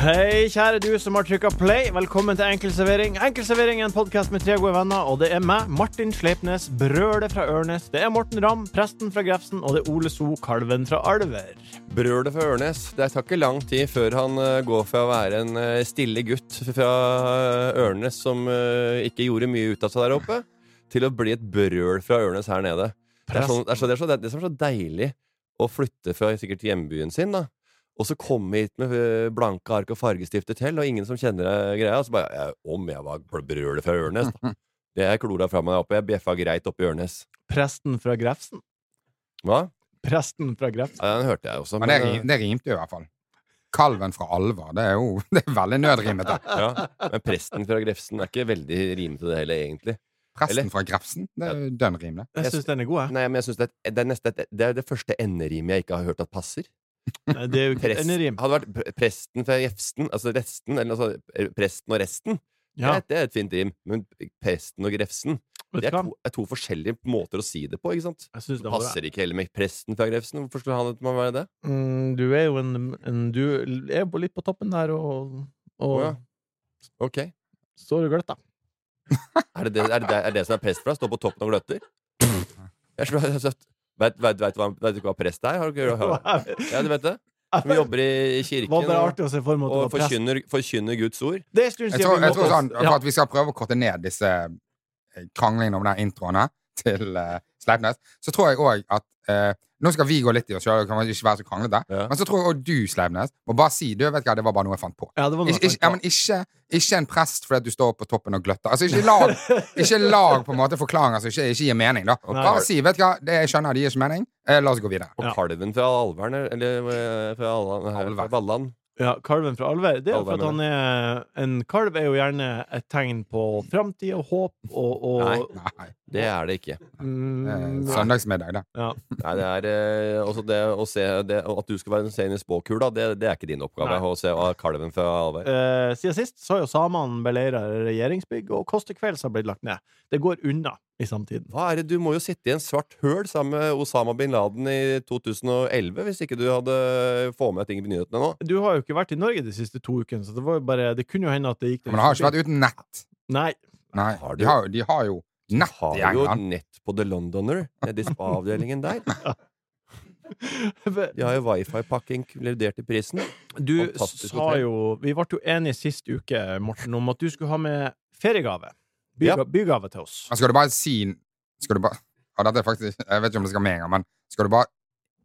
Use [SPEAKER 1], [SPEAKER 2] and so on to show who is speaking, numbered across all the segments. [SPEAKER 1] Hei, kjære du som har trykka play. Velkommen til Enkel servering. Enkel servering er en podkast med tre gode venner, og det er meg, Martin Sleipnes, Brøle fra Ørnes, det er Morten Ramm, presten fra Grefsen, og det er Ole So, kalven fra Alver.
[SPEAKER 2] Brølet fra Ørnes. Det tar ikke lang tid før han eh, går fra å være en eh, stille gutt fra eh, Ørnes som eh, ikke gjorde mye ut av seg der oppe, til å bli et brøl fra Ørnes her nede. Det er, sånn, det, er så, det, er så, det er det som er så deilig å flytte fra sikkert hjembyen sin, da. Og så komme hit med ø, blanke ark og fargestifter til, og ingen som kjenner deg greia. Og så bare ja, Om jeg var br- brølet fra Ørnes, da. Det er klora fra meg oppe. Jeg bjeffa greit oppi Ørnes.
[SPEAKER 1] Presten fra Grefsen.
[SPEAKER 2] Hva?
[SPEAKER 1] Presten fra Grefsen.
[SPEAKER 2] Ja, den hørte jeg også. eh,
[SPEAKER 3] Men det, rim, det rimte jo i hvert fall. Kalven fra Alva. Det er jo det er veldig nødrimete.
[SPEAKER 2] ø, ja. men presten fra Grefsen er ikke veldig rimete, det heller, egentlig. Eller-
[SPEAKER 3] Presten fra Grefsen. Det er jo dønn rimende.
[SPEAKER 1] Jeg syns den er god, jeg.
[SPEAKER 2] Nei, men jeg synes det, er et- det, er neste, det er det første enderimet jeg ikke har hørt at passer.
[SPEAKER 1] Nei, Det er jo ikke
[SPEAKER 2] Prest,
[SPEAKER 1] en rim.
[SPEAKER 2] hadde vært pre- presten fra Gjefsten, altså resten, eller altså presten og resten.
[SPEAKER 1] Ja,
[SPEAKER 2] Det, det er et fint rim. Men presten og Grefsen
[SPEAKER 1] vet du
[SPEAKER 2] Det er
[SPEAKER 1] hva?
[SPEAKER 2] to, er to forskjellige måter å si det på, ikke sant?
[SPEAKER 1] Jeg synes
[SPEAKER 2] Det
[SPEAKER 1] den var bra.
[SPEAKER 2] passer ikke heller med presten fra Grefsen. Hvorfor skulle han må være det?
[SPEAKER 1] Mm, du er jo en, en Du er jo litt på toppen der, og, og
[SPEAKER 2] Å ja. Ok. Er
[SPEAKER 1] står og gløtter.
[SPEAKER 2] det det, er det, er det som er prest fra? Stå på toppen og gløtter? Jeg skulle bare sagt Vet vet- vet du hva, vet du ikke hva prest er? Har du ikke hørt
[SPEAKER 1] Det
[SPEAKER 2] Ja, du vet det? Som jobber i kirken
[SPEAKER 1] var bare
[SPEAKER 2] og,
[SPEAKER 1] artig å se for meg
[SPEAKER 2] og
[SPEAKER 1] at det var prest.
[SPEAKER 2] forkynner, forkynner Guds ord.
[SPEAKER 1] Det er en stund
[SPEAKER 3] Jeg
[SPEAKER 1] siden
[SPEAKER 3] tror,
[SPEAKER 1] vi
[SPEAKER 3] jeg
[SPEAKER 1] møttes.
[SPEAKER 3] tror sånn,
[SPEAKER 1] Ja.
[SPEAKER 3] For at vi skal prøve å korte ned disse eh, kranglingene om den introen her til eh, Sleipnes, så tror jeg òg at eh, Nå skal vi gå litt i oss sjøl, kan vi ikke være så kranglete.
[SPEAKER 2] Ja.
[SPEAKER 3] Men så tror jeg òg du, Sleipnes, må bare si du vet hva, det var bare noe jeg fant på.
[SPEAKER 1] Ja, det var noe
[SPEAKER 3] Ikke, ikke, ja, men ikke, ikke en prest fordi at du står på toppen og gløtter. Altså, ikke lag, ikke lag på en måte forklaringer som ikke, ikke gir mening. da
[SPEAKER 2] Og,
[SPEAKER 1] Nei.
[SPEAKER 3] Bare
[SPEAKER 2] kal
[SPEAKER 3] si vet du hva, det jeg skjønner de gir ikke mening. Eh, la oss gå videre.
[SPEAKER 2] og
[SPEAKER 1] Ja.
[SPEAKER 2] kalven fra Alveren, eller eh, fra Allan- fra
[SPEAKER 3] Alver.
[SPEAKER 2] Valland.
[SPEAKER 1] ja, kalven fra Alver. Det er jo for
[SPEAKER 2] Alver,
[SPEAKER 1] at han er En kalv er jo gjerne et tegn på framtid og håp og, og
[SPEAKER 2] Nei.
[SPEAKER 3] Nei.
[SPEAKER 2] Det er det ikke.
[SPEAKER 1] Mm,
[SPEAKER 3] Eh, søndagsmiddag, det.
[SPEAKER 1] ja.
[SPEAKER 2] Nei, det er eh, også det å se det, At du skal være en sen i spåkula, det, det er ikke din oppgave.
[SPEAKER 1] Nei.
[SPEAKER 2] Å se hva kalven fra Alver.
[SPEAKER 1] Eh, Siden sist så har jo samene beleira regjeringsbygg, og Kåss til kvelds har blitt lagt ned. Det går unna i samtiden.
[SPEAKER 2] Hva er det? Du må jo sitte i en svart høl sammen med Osama bin Laden i 2011 hvis ikke du hadde få med ting i nyhetene nå.
[SPEAKER 1] Du har jo ikke vært i Norge de siste to ukene, så det var jo bare Det kunne jo hende at det gikk
[SPEAKER 3] Men det har ikke vært uten nett.
[SPEAKER 1] Nei.
[SPEAKER 3] Nei,
[SPEAKER 2] Har du-
[SPEAKER 3] de har, jo- de har jo nett
[SPEAKER 2] Har
[SPEAKER 3] i
[SPEAKER 2] jo
[SPEAKER 3] England.
[SPEAKER 2] nett på The Londoner, nede i spa-avdelingen der. De har jo wifi-pakking inkludert i prisen.
[SPEAKER 1] Du
[SPEAKER 2] Fantastisk
[SPEAKER 1] sa
[SPEAKER 2] hotell.
[SPEAKER 1] jo Vi ble jo enige sist uke, Morten, om at du skulle ha med feriegave. Byga,
[SPEAKER 2] Ja.
[SPEAKER 1] Bygave til oss.
[SPEAKER 3] Men Skal du bare si Skal du bare ja, dette er faktisk, Jeg vet ikke om det skal med en gang, men skal du bare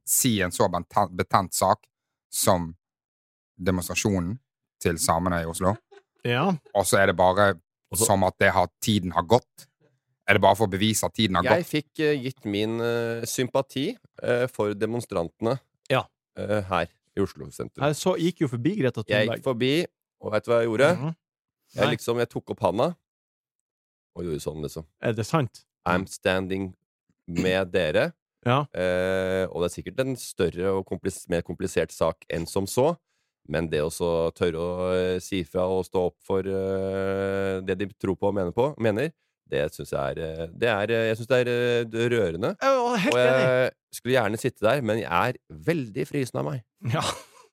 [SPEAKER 3] si en så betent, betent sak som demonstrasjonen til samene i Oslo,
[SPEAKER 1] Ja.
[SPEAKER 3] og så er det bare
[SPEAKER 2] Og så-
[SPEAKER 3] som at det har, tiden har gått? Er det bare for å bevise at tiden har
[SPEAKER 2] Jeg
[SPEAKER 3] gått?
[SPEAKER 2] fikk eh, gitt min eh, sympati eh, for demonstrantene
[SPEAKER 1] Ja.
[SPEAKER 2] eh, her i Oslo sentrum.
[SPEAKER 1] Jeg så, gikk jo forbi Greta
[SPEAKER 2] Jeg gikk
[SPEAKER 1] Thunberg.
[SPEAKER 2] forbi, og veit du hva jeg gjorde?
[SPEAKER 1] Mhm.
[SPEAKER 2] Jeg,
[SPEAKER 1] Nei.
[SPEAKER 2] liksom, jeg tok opp handa og gjorde sånn, liksom.
[SPEAKER 1] Er det sant?
[SPEAKER 2] I'm standing med dere.
[SPEAKER 1] Ja.
[SPEAKER 2] Eh, og det er sikkert en større og komplis mer komplisert sak enn som så. Men det å så tørre å eh, si fra og stå opp for eh, det de tror på og mener, på, mener det syns jeg er, eh, det er, eh, jeg synes det er eh, rørende.
[SPEAKER 1] Jeg var helt
[SPEAKER 2] Og
[SPEAKER 1] enig!
[SPEAKER 2] jeg skulle gjerne sitte der, men jeg er veldig frysen av meg.
[SPEAKER 1] Ja.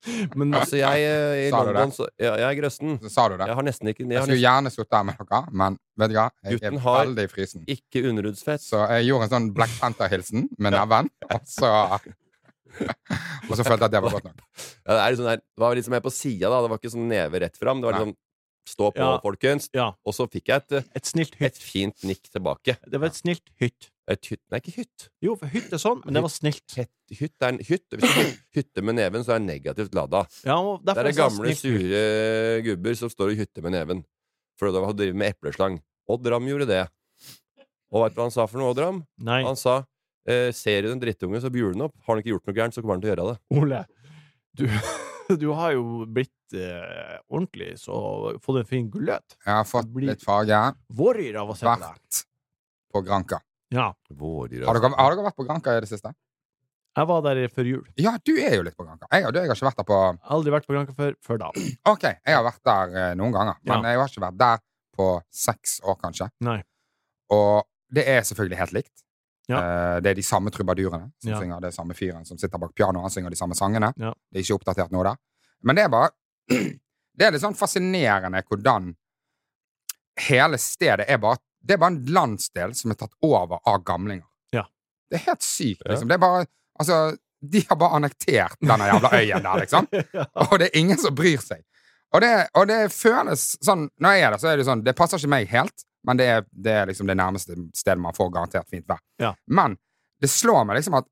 [SPEAKER 1] Men
[SPEAKER 2] Altså, jeg eh, i
[SPEAKER 3] Sa du det?
[SPEAKER 2] London så, ja, Jeg er grøsten.
[SPEAKER 3] Så sa du det?
[SPEAKER 2] Jeg har nesten ikke, jeg
[SPEAKER 3] Jeg
[SPEAKER 2] har
[SPEAKER 3] skulle
[SPEAKER 2] nesten
[SPEAKER 3] gjerne sittet der med dere, men vet du hva? Jeg er
[SPEAKER 2] Gutten har-
[SPEAKER 3] veldig frysen.
[SPEAKER 2] ikke underhudsfett.
[SPEAKER 3] Så jeg gjorde en sånn Black Panther-hilsen med neven, og så Og så følte jeg at det var godt nok.
[SPEAKER 2] Ja, det, er liksom der, det var liksom mer på sida, da. Det var ikke sånn neve rett fram. Det var
[SPEAKER 3] Nei.
[SPEAKER 2] liksom stå på,
[SPEAKER 1] Ja.
[SPEAKER 2] folkens.
[SPEAKER 1] Ja.
[SPEAKER 2] Og så fikk jeg et, eh,
[SPEAKER 1] et snilt
[SPEAKER 2] et
[SPEAKER 1] hytt.
[SPEAKER 2] fint nikk tilbake.
[SPEAKER 1] Det var et snilt hytt.
[SPEAKER 2] Et hytt Nei, ikke hytt.
[SPEAKER 1] Jo, for hytt er sånn, men det var snilt.
[SPEAKER 2] Hytt, hytt er en hytt. Hvis du har hytte med neven, så er det negativt lada.
[SPEAKER 1] Ja, sånn og
[SPEAKER 2] Det
[SPEAKER 1] derfor
[SPEAKER 2] er det
[SPEAKER 1] jeg sa
[SPEAKER 2] gamle,
[SPEAKER 1] snilt hytt.
[SPEAKER 2] sure gubber som står og hytter med neven. For de driver med epleslang. Odd Ram gjorde det. Og veit du hva han sa for noe, Odd Ram?
[SPEAKER 1] Nei,
[SPEAKER 2] Han sa eh, Ser du den drittungen, så bjur den opp. Har han ikke gjort noe gærent, så kommer han til å gjøre det.
[SPEAKER 1] Ole. Du, du har jo blitt eh, ordentlig, så få du en fin gulløt.
[SPEAKER 3] Jeg har fått
[SPEAKER 1] Det blir-
[SPEAKER 3] litt farge.
[SPEAKER 1] Våryr av å se på deg.
[SPEAKER 3] Vært på Granka.
[SPEAKER 1] Ja.
[SPEAKER 2] Vårdyr,
[SPEAKER 3] Har
[SPEAKER 2] altså.
[SPEAKER 3] dere, har dere vært på Granka i det siste?
[SPEAKER 1] Jeg var der før jul.
[SPEAKER 3] Ja, du er jo litt på Granka. Jeg, har- jeg har ikke vært der på
[SPEAKER 1] Aldri vært på Granca før. Før da.
[SPEAKER 3] Ok, jeg har vært der eh, noen ganger, men
[SPEAKER 1] Ja.
[SPEAKER 3] jeg har ikke vært der på seks år, kanskje.
[SPEAKER 1] Nei.
[SPEAKER 3] Og det er selvfølgelig helt likt.
[SPEAKER 1] Ja.
[SPEAKER 3] Eh, Det er de samme trubadurene som
[SPEAKER 1] Ja.
[SPEAKER 3] synger, det er samme fyren som sitter bak pianoet, han synger de samme sangene.
[SPEAKER 1] Ja.
[SPEAKER 3] Det er ikke oppdatert nå der. Men det er bare Det er litt sånn fascinerende hvordan hele stedet er bare Det er bare en landsdel som er tatt over av gamlinger.
[SPEAKER 1] Ja.
[SPEAKER 3] Det er helt sykt,
[SPEAKER 2] Ja.
[SPEAKER 3] liksom. Det er bare Altså, de har bare annektert denne jævla øyen der, liksom.
[SPEAKER 1] ja.
[SPEAKER 3] Og det er ingen som bryr seg. Og det, og det føles sånn Når jeg er der, så er det sånn Det passer ikke meg helt, men det er, det er liksom det nærmeste stedet man får garantert fint vær.
[SPEAKER 1] Ja.
[SPEAKER 3] Men det slår meg liksom at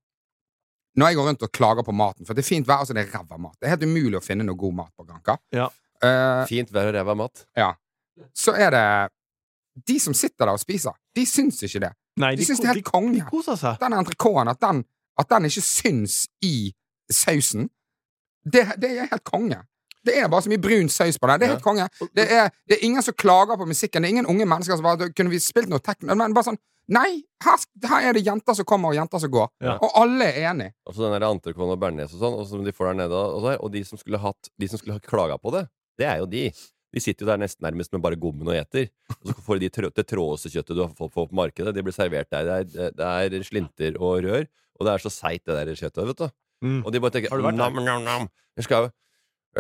[SPEAKER 3] når jeg går rundt og klager på maten For det er fint vær, og så er det ræva mat. Det er helt umulig å finne noe god mat på Granka.
[SPEAKER 1] Ja.
[SPEAKER 3] Eh,
[SPEAKER 2] Fint vær og ræva mat.
[SPEAKER 3] så er det De som sitter der og spiser, de syns ikke det.
[SPEAKER 1] Nei,
[SPEAKER 3] De
[SPEAKER 1] de,
[SPEAKER 3] syns
[SPEAKER 1] ko-
[SPEAKER 3] det er
[SPEAKER 1] de,
[SPEAKER 3] helt konge.
[SPEAKER 1] de koser seg.
[SPEAKER 3] Den entrecôten, at, den- at den ikke syns i sausen, det, det er helt konge. Det er bare så mye brun saus på den. Det er helt konge. Det er, det er ingen som klager på musikken. Det er ingen unge mennesker som bare Kunne vi spilt noe tekno? Men bare sånn Nei! Her, sk- her er det jenter som kommer, og jenter som går.
[SPEAKER 1] Ja.
[SPEAKER 3] Og alle er enige.
[SPEAKER 2] Og så den der entrecôten og bearnés og sånn, og som de får der nede og der, og de som skulle hatt De som skulle ha klaga på det, det er jo de. De sitter jo der nesten nærmest med bare gommen og eter. Og så får de trø- det tråeste kjøttet du har fått på markedet. Det blir servert der. Det er, det er slinter og rør. Og det er så seigt, det der kjøttet. vet du
[SPEAKER 1] Mm.
[SPEAKER 2] Og de bare tenker
[SPEAKER 1] Har du vært der?
[SPEAKER 2] nam, nam, nam. Vi skal, jo-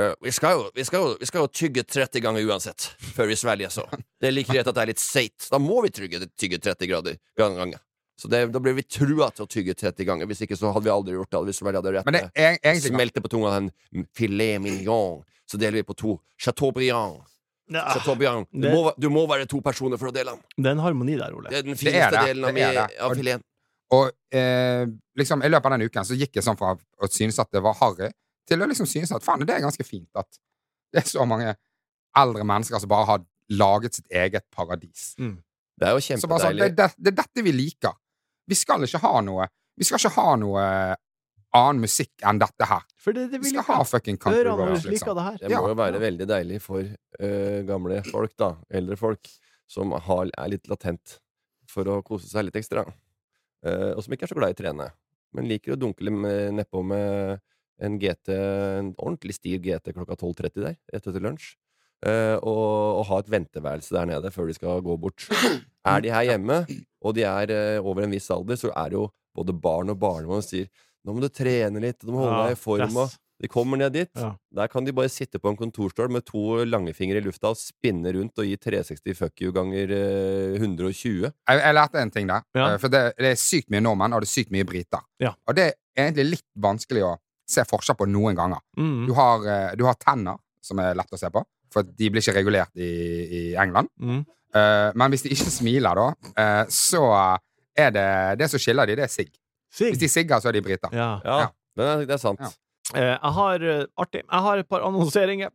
[SPEAKER 2] eh, vi, skal jo, vi, skal jo, vi skal jo tygge 30 ganger uansett før vi svelger, så. Det er like greit at det er litt seigt. Da må vi tygge, tygge 30 grader ganger. Så det, da blir vi trua til å tygge 30 ganger. Hvis ikke så hadde vi aldri gjort det. Hvis vi hadde rett
[SPEAKER 3] Men det
[SPEAKER 2] med.
[SPEAKER 3] er egentlig
[SPEAKER 2] Smelte på tunga en filet mignon. Så deler vi på to. Chateaubriand.
[SPEAKER 3] Ah,
[SPEAKER 1] Ja,
[SPEAKER 2] Chateaubriand. Du,
[SPEAKER 1] det-
[SPEAKER 2] må, va- du må være to personer for å dele den.
[SPEAKER 1] Det er en harmoni der, Ole.
[SPEAKER 2] Det er den
[SPEAKER 3] er
[SPEAKER 2] fineste
[SPEAKER 3] det.
[SPEAKER 2] delen av,
[SPEAKER 3] Det er
[SPEAKER 2] mi-
[SPEAKER 3] det.
[SPEAKER 2] av
[SPEAKER 3] Og-
[SPEAKER 2] fileten.
[SPEAKER 3] Og eh, liksom, i løpet av den uken så gikk jeg sånn fra å synes at det var harry, til å liksom synes at faen, det er ganske fint at det er så mange eldre mennesker som bare har laget sitt eget paradis.
[SPEAKER 2] Det er jo
[SPEAKER 3] Så bare sånn, det,
[SPEAKER 2] kjempedeilig.
[SPEAKER 3] det, det er dette vi liker. Vi skal ikke ha noe Vi skal ikke ha noe eh, annen musikk enn dette her.
[SPEAKER 1] For det, det
[SPEAKER 3] Vi
[SPEAKER 1] vil
[SPEAKER 3] skal
[SPEAKER 1] ikke
[SPEAKER 3] ha fucking country
[SPEAKER 1] Ørene våre
[SPEAKER 3] roads,
[SPEAKER 1] liker
[SPEAKER 3] liksom.
[SPEAKER 1] det her.
[SPEAKER 2] Det må
[SPEAKER 3] Ja.
[SPEAKER 2] jo være veldig deilig for eh, gamle folk, da. Eldre folk. Som har, er litt latent for å kose seg litt ekstra. Eh, og som ikke er så glad i trene. Men liker å dunkle med- nedpå med en GT, en ordentlig stiv GT klokka 12.30 der, rett etter lunsj. Eh, og, og ha et venteværelse der nede før de skal gå bort. Er de her hjemme, og de er eh, over en viss alder, så er det jo både barn og barnebarn som sier 'Nå må du trene litt, du må holde deg i form', og
[SPEAKER 1] press.
[SPEAKER 2] de kommer ned dit.
[SPEAKER 1] Ja.
[SPEAKER 2] Der kan de bare sitte på en kontorstol med to langfingre i lufta og spinne rundt og gi 360 fuck you ganger eh, 120.
[SPEAKER 3] Jeg, jeg lærte en ting der.
[SPEAKER 1] Ja.
[SPEAKER 3] eh, For det, det er sykt mye nordmenn, og det er sykt mye briter.
[SPEAKER 1] Ja.
[SPEAKER 3] Og det er egentlig litt vanskelig å se forskjell på noen ganger. Du
[SPEAKER 1] Mm.
[SPEAKER 3] har, eh, du har tenner, som er lett å se på, for de blir ikke regulert i, i England.
[SPEAKER 1] Mm.
[SPEAKER 3] Eh, men hvis de ikke smiler, da, eh, så er det Det som skiller de, det er sigg.
[SPEAKER 1] Sigg.
[SPEAKER 3] Hvis de sigger, så er de briter.
[SPEAKER 1] Ja.
[SPEAKER 2] Ja,
[SPEAKER 3] Ja.
[SPEAKER 2] Det, er, det er sant.
[SPEAKER 3] Ja.
[SPEAKER 1] Eh, jeg har eh, Artig. Jeg har et par annonseringer.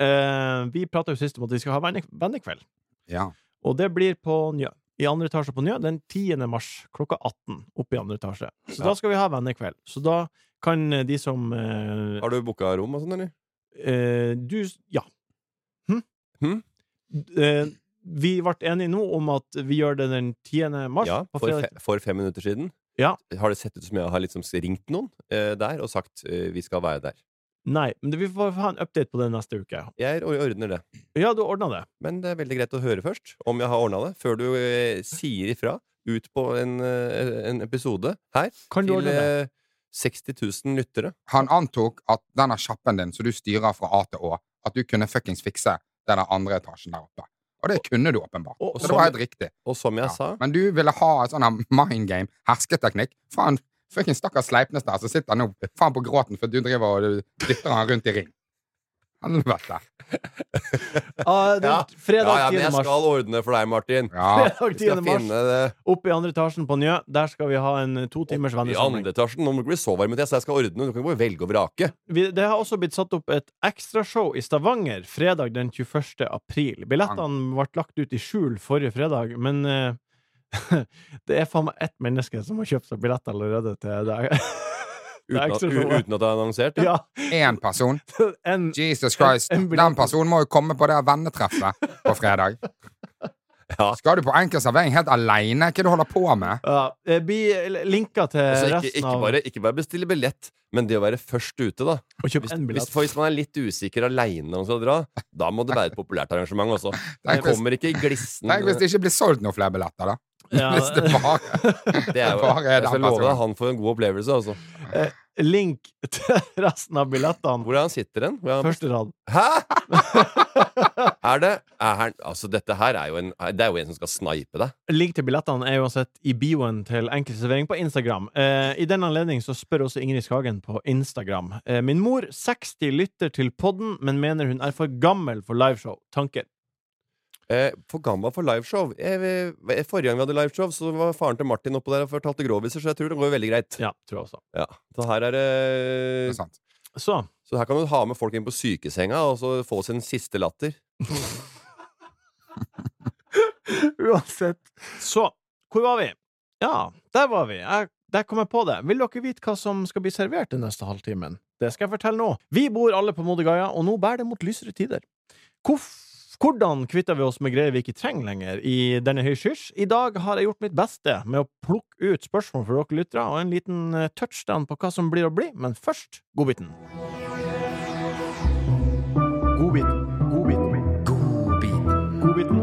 [SPEAKER 1] Eh, vi prata jo sist om at vi skal ha venne- vennekveld,
[SPEAKER 3] Ja.
[SPEAKER 1] og det blir på Njø. I andre etasje på Njø den 10. mars klokka 18. Oppe i andre etasje. Så da skal vi ha vennekveld. Så da kan eh, de som eh,
[SPEAKER 2] Har du booka rom og sånn, eller?
[SPEAKER 1] eh, Du Ja. Hm?
[SPEAKER 2] Hm?
[SPEAKER 1] D- Eh, vi ble enige nå om at vi gjør det den 10. mars.
[SPEAKER 2] Ja,
[SPEAKER 1] på
[SPEAKER 2] for,
[SPEAKER 1] fredag.
[SPEAKER 2] fe, for fem minutter siden.
[SPEAKER 1] Ja.
[SPEAKER 2] Har det sett ut som jeg har liksom ringt noen eh, der og sagt eh, 'vi skal være der'?
[SPEAKER 1] Nei, men vi får ha en update på det neste uke.
[SPEAKER 2] Jeg or- ordner det.
[SPEAKER 1] Ja, du ordna det.
[SPEAKER 2] Men det er veldig greit å høre først om jeg har ordna det, før du eh, sier ifra ut på en, eh, en episode her
[SPEAKER 1] Kan du
[SPEAKER 2] til
[SPEAKER 1] ordne det?
[SPEAKER 2] eh, 60 000 lyttere.
[SPEAKER 3] Han antok at denne kjappen din, som du styrer fra A til Å, at du kunne fuckings fikse den der andre etasjen der oppe. Og det kunne du åpenbart.
[SPEAKER 1] Og- og
[SPEAKER 3] så det var
[SPEAKER 2] sånn-
[SPEAKER 3] helt riktig.
[SPEAKER 2] Og som jeg
[SPEAKER 3] Ja.
[SPEAKER 2] sa
[SPEAKER 3] Men du ville ha et sånn her mind game, hersketeknikk. Faen, fuckings stakkars Sleipnes der som sitter nå faen på gråten for du driver og dytter han rundt i ring. Helvete.
[SPEAKER 1] Ah, det,
[SPEAKER 2] Ja.
[SPEAKER 1] Fredag
[SPEAKER 2] Ja, ja, men
[SPEAKER 1] 10.
[SPEAKER 2] jeg
[SPEAKER 1] mars.
[SPEAKER 2] skal ordne for deg, Martin.
[SPEAKER 3] Ja.
[SPEAKER 1] Fredag
[SPEAKER 2] Vi skal
[SPEAKER 1] 10. mars.
[SPEAKER 2] finne det
[SPEAKER 1] Oppe i andre etasjen på Njø. Der skal vi ha en eh, to timers
[SPEAKER 2] i andre
[SPEAKER 1] vennesamling.
[SPEAKER 2] etasjen. Nå må du bli så varm, Mathias. Jeg skal ordne. Du kan ikke bare velge og vrake.
[SPEAKER 1] Vi- Det har også blitt satt opp et ekstrashow i Stavanger fredag den 21. april. Billettene ble lagt ut i skjul forrige fredag, men eh, det er faen meg ett menneske som har kjøpt seg billett allerede til det,
[SPEAKER 2] Uten at,
[SPEAKER 1] ekstra
[SPEAKER 2] u-
[SPEAKER 1] showet.
[SPEAKER 2] uten at det er annonsert?
[SPEAKER 1] Ja.
[SPEAKER 3] Én person.
[SPEAKER 1] En,
[SPEAKER 3] Jesus Christ.
[SPEAKER 1] En- en billig-
[SPEAKER 3] Den personen må jo komme på det vennetreffet på fredag.
[SPEAKER 2] Ja.
[SPEAKER 3] Skal du på enkel servering helt aleine? Hva er det du holder på med?
[SPEAKER 1] ja. eh, Det blir linker til
[SPEAKER 2] Altså, ikke,
[SPEAKER 1] resten
[SPEAKER 2] ikke,
[SPEAKER 1] av
[SPEAKER 2] bare, ikke bare bestille billett, men det å være først ute, da.
[SPEAKER 1] Å kjøpe
[SPEAKER 2] Hvis,
[SPEAKER 1] en
[SPEAKER 2] hvis,
[SPEAKER 1] billett.
[SPEAKER 2] for hvis man er litt usikker aleine når man skal dra, da må det være et populært arrangement også. Det
[SPEAKER 3] Tenk hvis-
[SPEAKER 2] kommer ikke i glissen.
[SPEAKER 3] Tenk hvis det ikke blir solgt noen flere billetter, da.
[SPEAKER 1] Ja.
[SPEAKER 3] Hvis det bare
[SPEAKER 2] Det er jo,
[SPEAKER 3] bare er
[SPEAKER 2] jeg
[SPEAKER 3] den
[SPEAKER 2] skal love deg,
[SPEAKER 3] personen.
[SPEAKER 2] han får en god opplevelse, altså.
[SPEAKER 1] Link til resten av billettene.
[SPEAKER 2] Hvor er han sitter hen? Hvor er han-
[SPEAKER 1] Første rad.
[SPEAKER 2] Hæ?! er det er han, Altså, dette her er jo en Det er jo en som skal snipe deg.
[SPEAKER 1] Link til billettene er uansett i bioen til Enkel servering på Instagram. Eh, I den anledning så spør også Ingrid Skagen på Instagram. Eh, min mor, 60, lytter til podden, men mener hun er for gammel for liveshow. Tanker.
[SPEAKER 2] Eh, for gammel for liveshow. Jeg, jeg- forrige gang vi hadde liveshow, så var faren til Martin oppå der og fortalte gråviser, så jeg tror det går veldig greit.
[SPEAKER 1] Ja, tror jeg også.
[SPEAKER 2] Ja. Så her er
[SPEAKER 3] Det er
[SPEAKER 2] det
[SPEAKER 3] sant.
[SPEAKER 1] Så
[SPEAKER 2] Så her kan du ha med folk inn på sykesenga og så få sin siste latter.
[SPEAKER 1] Uansett. Så hvor var vi? Ja, der var vi. Jeg, der kom jeg på det. Vil dere vite hva som skal bli servert den neste halvtimen? Det skal jeg fortelle nå. Vi bor alle på Modergaia, og nå bærer det mot lysere tider. Hvorf hvordan kvitter vi oss med greier vi ikke trenger lenger i denne høyskyrs? I dag har jeg gjort mitt beste med å plukke ut spørsmål for dere lyttere, og en liten eh, touchdown på hva som blir å bli, men først godbiten. Godbiten. Godbiten. Godbiten.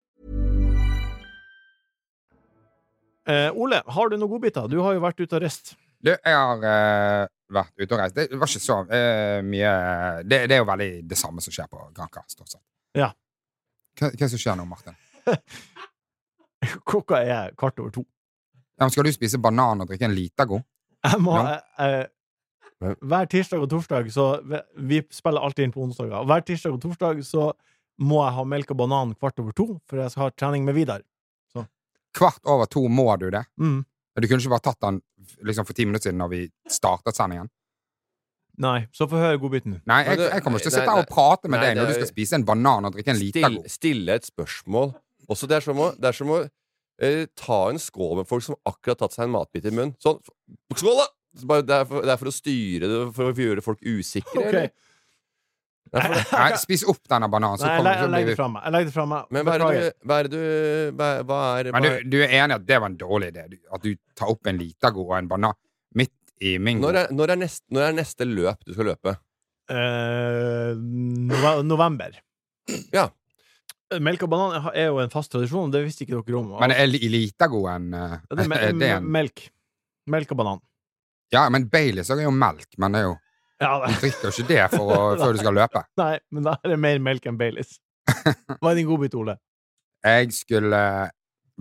[SPEAKER 1] Eh, Ole, har du noen godbiter? Du har jo vært ute og reist.
[SPEAKER 3] Du, jeg har eh, vært ute og reist. Det var ikke så eh, mye det, det er jo veldig det samme som skjer på Granca, stort sett.
[SPEAKER 1] Ja.
[SPEAKER 3] Hva, hva er det som skjer nå, Martin?
[SPEAKER 1] Klokka er kvart over to.
[SPEAKER 3] Ja, men skal du spise banan og drikke en Litago?
[SPEAKER 1] Jeg må,
[SPEAKER 3] Ja.
[SPEAKER 1] eh, eh, hver tirsdag og torsdag så Vi spiller alltid inn på onsdager. Og hver tirsdag og torsdag så må jeg ha melk og banan kvart over to, for jeg skal ha trening med Vidar.
[SPEAKER 3] Kvart over to må du det.
[SPEAKER 1] Mm.
[SPEAKER 3] Du kunne ikke bare tatt den liksom, for ti minutter siden når vi startet sendingen.
[SPEAKER 1] Nei, så få høre godbiten.
[SPEAKER 3] Nei,
[SPEAKER 2] Men
[SPEAKER 3] jeg,
[SPEAKER 2] du-
[SPEAKER 3] jeg kommer ikke til å
[SPEAKER 2] nei,
[SPEAKER 3] sitte her og
[SPEAKER 2] nei,
[SPEAKER 3] prate med
[SPEAKER 2] nei,
[SPEAKER 3] deg når
[SPEAKER 2] det
[SPEAKER 3] du
[SPEAKER 2] er-
[SPEAKER 3] skal spise en banan og drikke en
[SPEAKER 2] Still,
[SPEAKER 3] Litago.
[SPEAKER 2] stille et spørsmål. Også det er som å, det er som å eh, ta en skål med folk som akkurat har tatt seg en matbit i munnen. Sånn. Skål, da! Så bare, det, er for, det er for å styre det, for å gjøre folk usikre.
[SPEAKER 1] Ok.
[SPEAKER 2] eller? Det er for det.
[SPEAKER 3] Nei, spis opp denne bananen, så
[SPEAKER 1] Nei, jeg, le-
[SPEAKER 3] kommer
[SPEAKER 1] jeg legger
[SPEAKER 3] så blir
[SPEAKER 1] det
[SPEAKER 3] vi
[SPEAKER 1] fra meg. Jeg legger det fra meg.
[SPEAKER 2] Men hva er det
[SPEAKER 1] Beklager.
[SPEAKER 2] du Hva er det du Hva, hva er hva,
[SPEAKER 3] Men du, du er enig at det var en dårlig idé? du- At du tar opp en Litago og en banan midt i mingoen?
[SPEAKER 2] når, er, når, er neste, når er neste løp du skal løpe?
[SPEAKER 1] Eh, nove- november.
[SPEAKER 2] Ja.
[SPEAKER 1] Melk og banan er jo en fast tradisjon, og det visste ikke dere om.
[SPEAKER 3] Men er li- Litago en eh,
[SPEAKER 1] Ja, det er me-
[SPEAKER 3] er det en
[SPEAKER 1] melk. Melk og banan.
[SPEAKER 3] Ja, men Baileys er jo melk, men det er jo
[SPEAKER 1] Ja, det
[SPEAKER 3] Du drikker jo ikke det for å, før du skal løpe.
[SPEAKER 1] Nei, men da er det mer melk enn Baileys. Hva er din godbit, Ole?
[SPEAKER 3] Jeg skulle eh,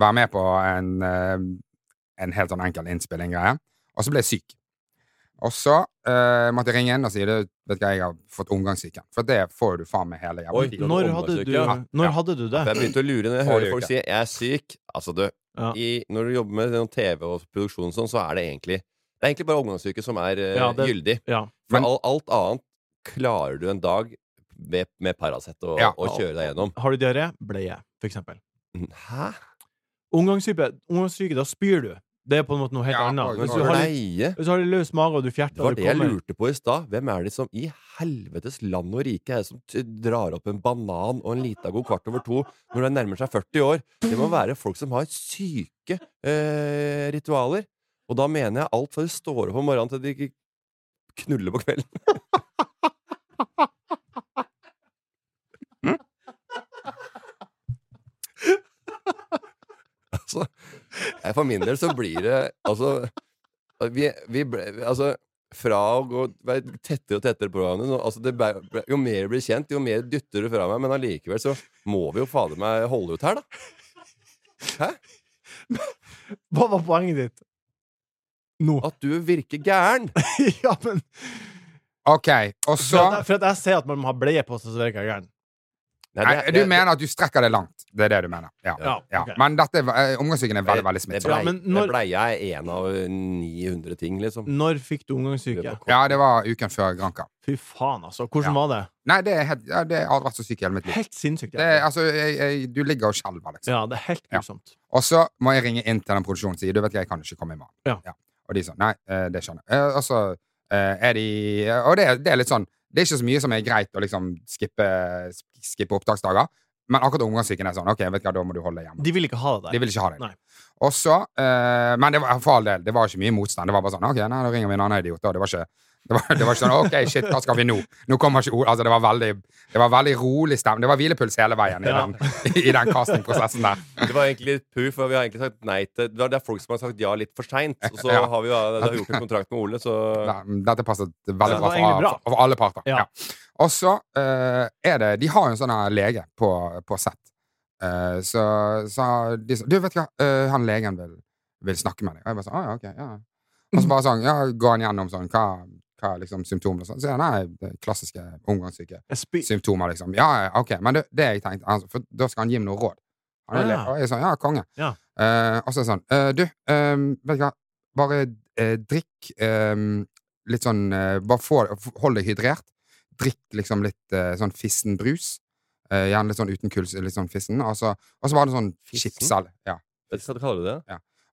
[SPEAKER 3] være med på en, eh, en helt sånn enkel innspilling-greie, og så ble jeg syk. Og så eh, måtte jeg ringe inn og si det, vet du hva, jeg har fått omgangssyken. For det får du faen meg hele jævla
[SPEAKER 2] Oi.
[SPEAKER 3] tiden.
[SPEAKER 1] Når hadde du,
[SPEAKER 2] Ja.
[SPEAKER 1] når hadde du det?
[SPEAKER 2] For jeg begynte å lure når jeg
[SPEAKER 3] Forrige
[SPEAKER 2] hører folk
[SPEAKER 3] uke.
[SPEAKER 2] si 'jeg er syk'. Altså, du,
[SPEAKER 1] Ja.
[SPEAKER 2] i, når du jobber med sånn TV og produksjon og sånn, så er det egentlig Det er egentlig bare omgangssyke som er eh,
[SPEAKER 1] Ja, det-
[SPEAKER 2] gyldig.
[SPEAKER 1] Ja.
[SPEAKER 2] For
[SPEAKER 3] Men-
[SPEAKER 2] all, alt annet klarer du en dag med, med Paracet og,
[SPEAKER 3] Ja.
[SPEAKER 2] og kjøre deg gjennom.
[SPEAKER 1] Har du diaré? Bleie, for eksempel.
[SPEAKER 2] Hæ?
[SPEAKER 1] Omgangssyke, omgangssyke, da spyr du. Det er på en måte noe helt
[SPEAKER 3] Ja, og-
[SPEAKER 1] annet. Hvis du
[SPEAKER 3] og-
[SPEAKER 1] har litt,
[SPEAKER 2] Bleie?
[SPEAKER 1] hvis du har litt løs mage og du
[SPEAKER 2] Det
[SPEAKER 1] fjerter
[SPEAKER 2] var
[SPEAKER 1] og
[SPEAKER 2] det jeg lurte på i stad. Hvem er det som i helvetes land og rike er det som t- drar opp en banan og en lita god kvart over to når de nærmer seg 40 år? Det må være folk som har syke eh, ritualer. Og da mener jeg alt fra de står opp om morgenen til de ikke knuller på kvelden. altså, jeg- for min del så blir det Altså vi, vi ble, altså, fra å gå være tettere og tettere på hverandre nå, altså, det ble, ble, Jo mer jeg blir kjent, jo mer dytter du fra meg, men allikevel så må vi jo fader meg holde ut her, da.
[SPEAKER 1] Hva var poenget ditt? Nå.
[SPEAKER 2] At du virker gæren!
[SPEAKER 1] ja, men
[SPEAKER 3] Ok, og
[SPEAKER 1] for
[SPEAKER 3] så
[SPEAKER 1] at, jeg- for at jeg ser at man må ha bleie på seg, så virker jeg gæren.
[SPEAKER 2] Nei,
[SPEAKER 3] Nei,
[SPEAKER 2] det-
[SPEAKER 3] Du
[SPEAKER 2] det-
[SPEAKER 3] mener at du strekker det langt. Det er det du mener. Ja.
[SPEAKER 1] Ja,
[SPEAKER 3] ja.
[SPEAKER 1] ok.
[SPEAKER 3] Men dette, er- eh, omgangssyken er veldig, veldig
[SPEAKER 2] det
[SPEAKER 3] smittsom.
[SPEAKER 2] blei,
[SPEAKER 1] Ja, men
[SPEAKER 2] det
[SPEAKER 1] når-
[SPEAKER 2] blei jeg en av 900 ting, liksom.
[SPEAKER 1] Når fikk du omgangssyke?
[SPEAKER 3] Ja, det var uken før Granca.
[SPEAKER 1] Fy faen, altså. Hvordan
[SPEAKER 3] Ja.
[SPEAKER 1] var det?
[SPEAKER 3] Nei, det, er helt, ja, det har vært så syk i hele mitt liv.
[SPEAKER 1] Helt sinnssykt.
[SPEAKER 3] Det, er- altså, jeg, jeg, du ligger og skjelver, liksom.
[SPEAKER 1] Ja, det er helt
[SPEAKER 3] Ja.
[SPEAKER 1] grusomt.
[SPEAKER 3] Og så må jeg ringe inn til den produksjonen og si du vet hva, jeg kan ikke komme i morgen.
[SPEAKER 1] Ja.
[SPEAKER 3] Og de sånn Nei, eh, det skjønner jeg. Eh, Og så eh, er de Og det, er- det er litt sånn Det er ikke så mye som er greit å liksom skippe, skippe opptaksdager, men akkurat omgangssyken er sånn OK, vet du hva, da må du holde deg hjemme.
[SPEAKER 1] De vil ikke ha det der.
[SPEAKER 3] De vil ikke ha deg.
[SPEAKER 1] Nei.
[SPEAKER 3] Og så eh, Men det var, for all del, det var ikke mye motstand. Det var bare sånn OK, nei, da ringer vi en annen idiot, da. Det var ikke det var, det var ikke sånn OK, shit, hva skal vi nå? Nå kommer ikke Ola Altså, det var veldig Det var veldig rolig stemning. Det var hvilepuls hele veien i
[SPEAKER 1] Ja.
[SPEAKER 3] den, i den castingprosessen der.
[SPEAKER 2] Det var egentlig litt puff, for vi har egentlig sagt nei til Det er- det er folk som har sagt ja litt for seint, og så
[SPEAKER 3] Ja.
[SPEAKER 2] har vi jo da har vi gjort en kontrakt med Ole, så
[SPEAKER 3] Nei, Dette passet
[SPEAKER 1] Så det
[SPEAKER 3] veldig
[SPEAKER 1] var
[SPEAKER 3] bra for,
[SPEAKER 1] egentlig bra.
[SPEAKER 3] for- for alle parter.
[SPEAKER 1] Ja.
[SPEAKER 3] Ja. Og så eh, er det De har jo en sånn her lege på, på sett. Eh, så sa de sånn Du, vet du hva, Eh, han legen vil, vil snakke med deg. Og jeg bare sånn Å ja, ok. Ja. Og så bare sånn Ja, går han gjennom sånn Hva, hva er liksom symptomer og sånn? Så sier han nei, det er klassiske omgangssyke
[SPEAKER 1] Jeg spyr.
[SPEAKER 3] symptomer, liksom. Ja, ja, ok. Men det, det jeg tenkte altså, For da skal han gi meg noe råd. Han er
[SPEAKER 1] Ja.
[SPEAKER 3] lege. Og jeg er sånn Ja, konge.
[SPEAKER 1] Ja.
[SPEAKER 3] Eh, og så er det sånn eh, Du, eh, vet du hva, bare eh, drikk eh, litt sånn eh, Bare få, hold deg hydrert. Drikk liksom litt eh, sånn fissen brus. Eh, gjerne litt sånn uten kuls, litt sånn fissen. Og så, og så var det sånn
[SPEAKER 2] Fissen?
[SPEAKER 3] chipsal. Ja.
[SPEAKER 2] Vet du hva du kaller det?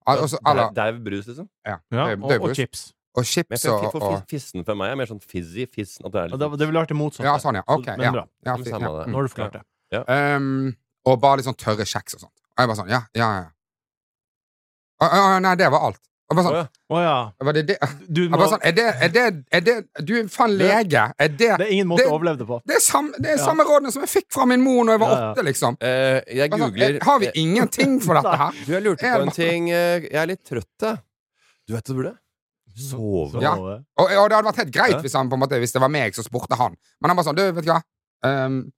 [SPEAKER 3] Al- altså, og så- eller-
[SPEAKER 2] Dau brus, liksom?
[SPEAKER 3] ja.
[SPEAKER 1] Ja,
[SPEAKER 3] dau-
[SPEAKER 1] og, og
[SPEAKER 3] daubrus.
[SPEAKER 1] chips.
[SPEAKER 3] Og
[SPEAKER 2] Men
[SPEAKER 3] chips
[SPEAKER 2] jeg
[SPEAKER 3] og,
[SPEAKER 2] føler- for
[SPEAKER 3] og
[SPEAKER 2] fissen for meg er mer sånn fizzy fissen. At det er liksom-
[SPEAKER 1] Ja,
[SPEAKER 2] litt
[SPEAKER 1] Det, det ville vært det motsatte.
[SPEAKER 3] Ja, sånn, ja. Ok.
[SPEAKER 1] Så- men
[SPEAKER 3] Ja.
[SPEAKER 1] bra.
[SPEAKER 3] ja,
[SPEAKER 2] Men
[SPEAKER 3] fi-
[SPEAKER 2] samme
[SPEAKER 3] ja.
[SPEAKER 2] det.
[SPEAKER 1] Nå
[SPEAKER 3] Mm.
[SPEAKER 1] har du forklart det.
[SPEAKER 3] Ehm, og bare litt sånn tørre kjeks og sånt. Og jeg bare sånn Ja, ja, ja. Å, å, å, nei, det var alt. Og bare
[SPEAKER 2] Å,
[SPEAKER 3] sånn,
[SPEAKER 2] ja.
[SPEAKER 1] Å ja.
[SPEAKER 3] var det det?
[SPEAKER 1] Du
[SPEAKER 3] Jeg
[SPEAKER 1] må,
[SPEAKER 3] bare sånn Er det, er det, er det Du er faen lege! Er det
[SPEAKER 1] det er ingen måte
[SPEAKER 3] eh, det-
[SPEAKER 1] å overleve det på.
[SPEAKER 3] Det er, samme, det er
[SPEAKER 1] Ja.
[SPEAKER 3] samme rådene som jeg fikk fra min mor når jeg var
[SPEAKER 1] Ja, ja.
[SPEAKER 3] åtte, liksom.
[SPEAKER 2] Eh, jeg
[SPEAKER 3] Bare sånn,
[SPEAKER 2] googler
[SPEAKER 3] eh, Har vi ingenting for dette her?
[SPEAKER 2] Du, jeg lurte
[SPEAKER 3] Jeg
[SPEAKER 2] på en
[SPEAKER 3] bare-
[SPEAKER 2] ting. eh, Jeg er litt trøtt, jeg. Du vet hva du burde? Sove.
[SPEAKER 3] Ja.
[SPEAKER 1] Så-
[SPEAKER 3] Og, og det hadde vært helt greit
[SPEAKER 2] Ja.
[SPEAKER 3] hvis, han, på en måte, hvis det var meg som spurte han. Men han bare sånn, du, vet du hva Ehm,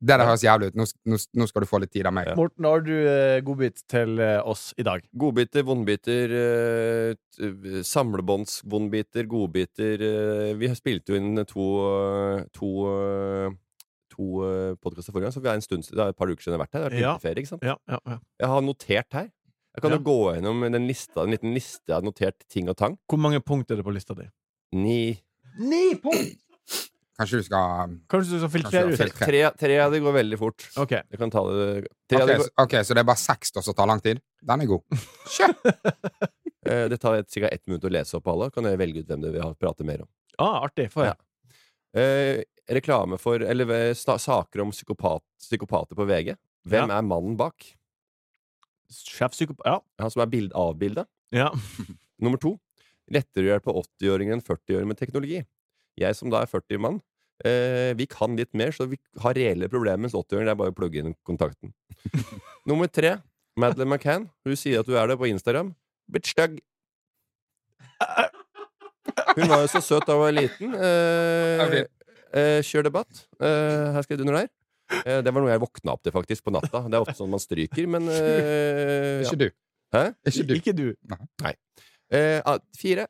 [SPEAKER 3] Det der høres jævlig ut. Nå, nå, nå skal du få litt tid av meg.
[SPEAKER 2] Ja.
[SPEAKER 1] Morten, har du eh, godbit til eh, oss i dag?
[SPEAKER 2] Godbiter, vondbiter, eh, t- eh, samlebåndsvondbiter, godbiter eh, Vi spilte jo inn to, eh, to, eh, to eh, podcaster forrige gang, så vi er en stund, siden- det er et par uker siden jeg har vært her. Det har vært
[SPEAKER 1] Ja.
[SPEAKER 2] vinterferie, ikke sant?
[SPEAKER 1] Ja, ja, ja.
[SPEAKER 2] Jeg har notert her. Jeg kan
[SPEAKER 1] Ja.
[SPEAKER 2] jo gå gjennom den lista, en liten liste jeg har notert ting og tang.
[SPEAKER 1] Hvor mange punkt er det på lista di?
[SPEAKER 2] Ni
[SPEAKER 1] Ni punkt!
[SPEAKER 3] Kanskje du skal
[SPEAKER 1] Kanskje du skal filtrere
[SPEAKER 3] Kanskje
[SPEAKER 1] ut?
[SPEAKER 3] jeg Tre.
[SPEAKER 2] Tre, tre av de går veldig fort.
[SPEAKER 1] Ok.
[SPEAKER 2] Jeg kan ta det Tre av
[SPEAKER 3] Ok,
[SPEAKER 2] de går,
[SPEAKER 3] så- ok, så det er bare seks da som tar lang tid? Den er god.
[SPEAKER 2] eh, det tar et- cirka ett minutt å lese opp alle. Kan jeg velge ut hvem det vil ha- prate mer om.
[SPEAKER 1] Ah, artig. Får jeg.
[SPEAKER 2] Eh, reklame for Eller eh, sta- saker om psykopat, psykopater på VG. Hvem er mannen bak?
[SPEAKER 1] Sjefpsykopat Ja.
[SPEAKER 2] Han som er bild, avbilda.
[SPEAKER 1] ja.
[SPEAKER 2] Nummer to. Lettere å hjelpe 80-åringen enn 40-åringen med teknologi. Jeg som da er 40-mann, eh, vi kan litt mer, så vi har reelle problemer, mens 80-åringen det er bare å plugge inn kontakten. Nummer tre. Madeleine McCann. Hun sier at hun er det på Instagram. Blitt stygg. Hun var jo så søt da hun var liten.
[SPEAKER 3] Det er
[SPEAKER 2] Eh, eh, kjør debatt. Eh, her skrev du under der. Eh, det var noe jeg våkna opp til faktisk på natta. Det er ofte sånn man stryker, men eh, ja.
[SPEAKER 3] Ikke du.
[SPEAKER 2] Hæ?
[SPEAKER 3] Ikke du.
[SPEAKER 1] Ikke du.
[SPEAKER 2] Eh, ah, fire.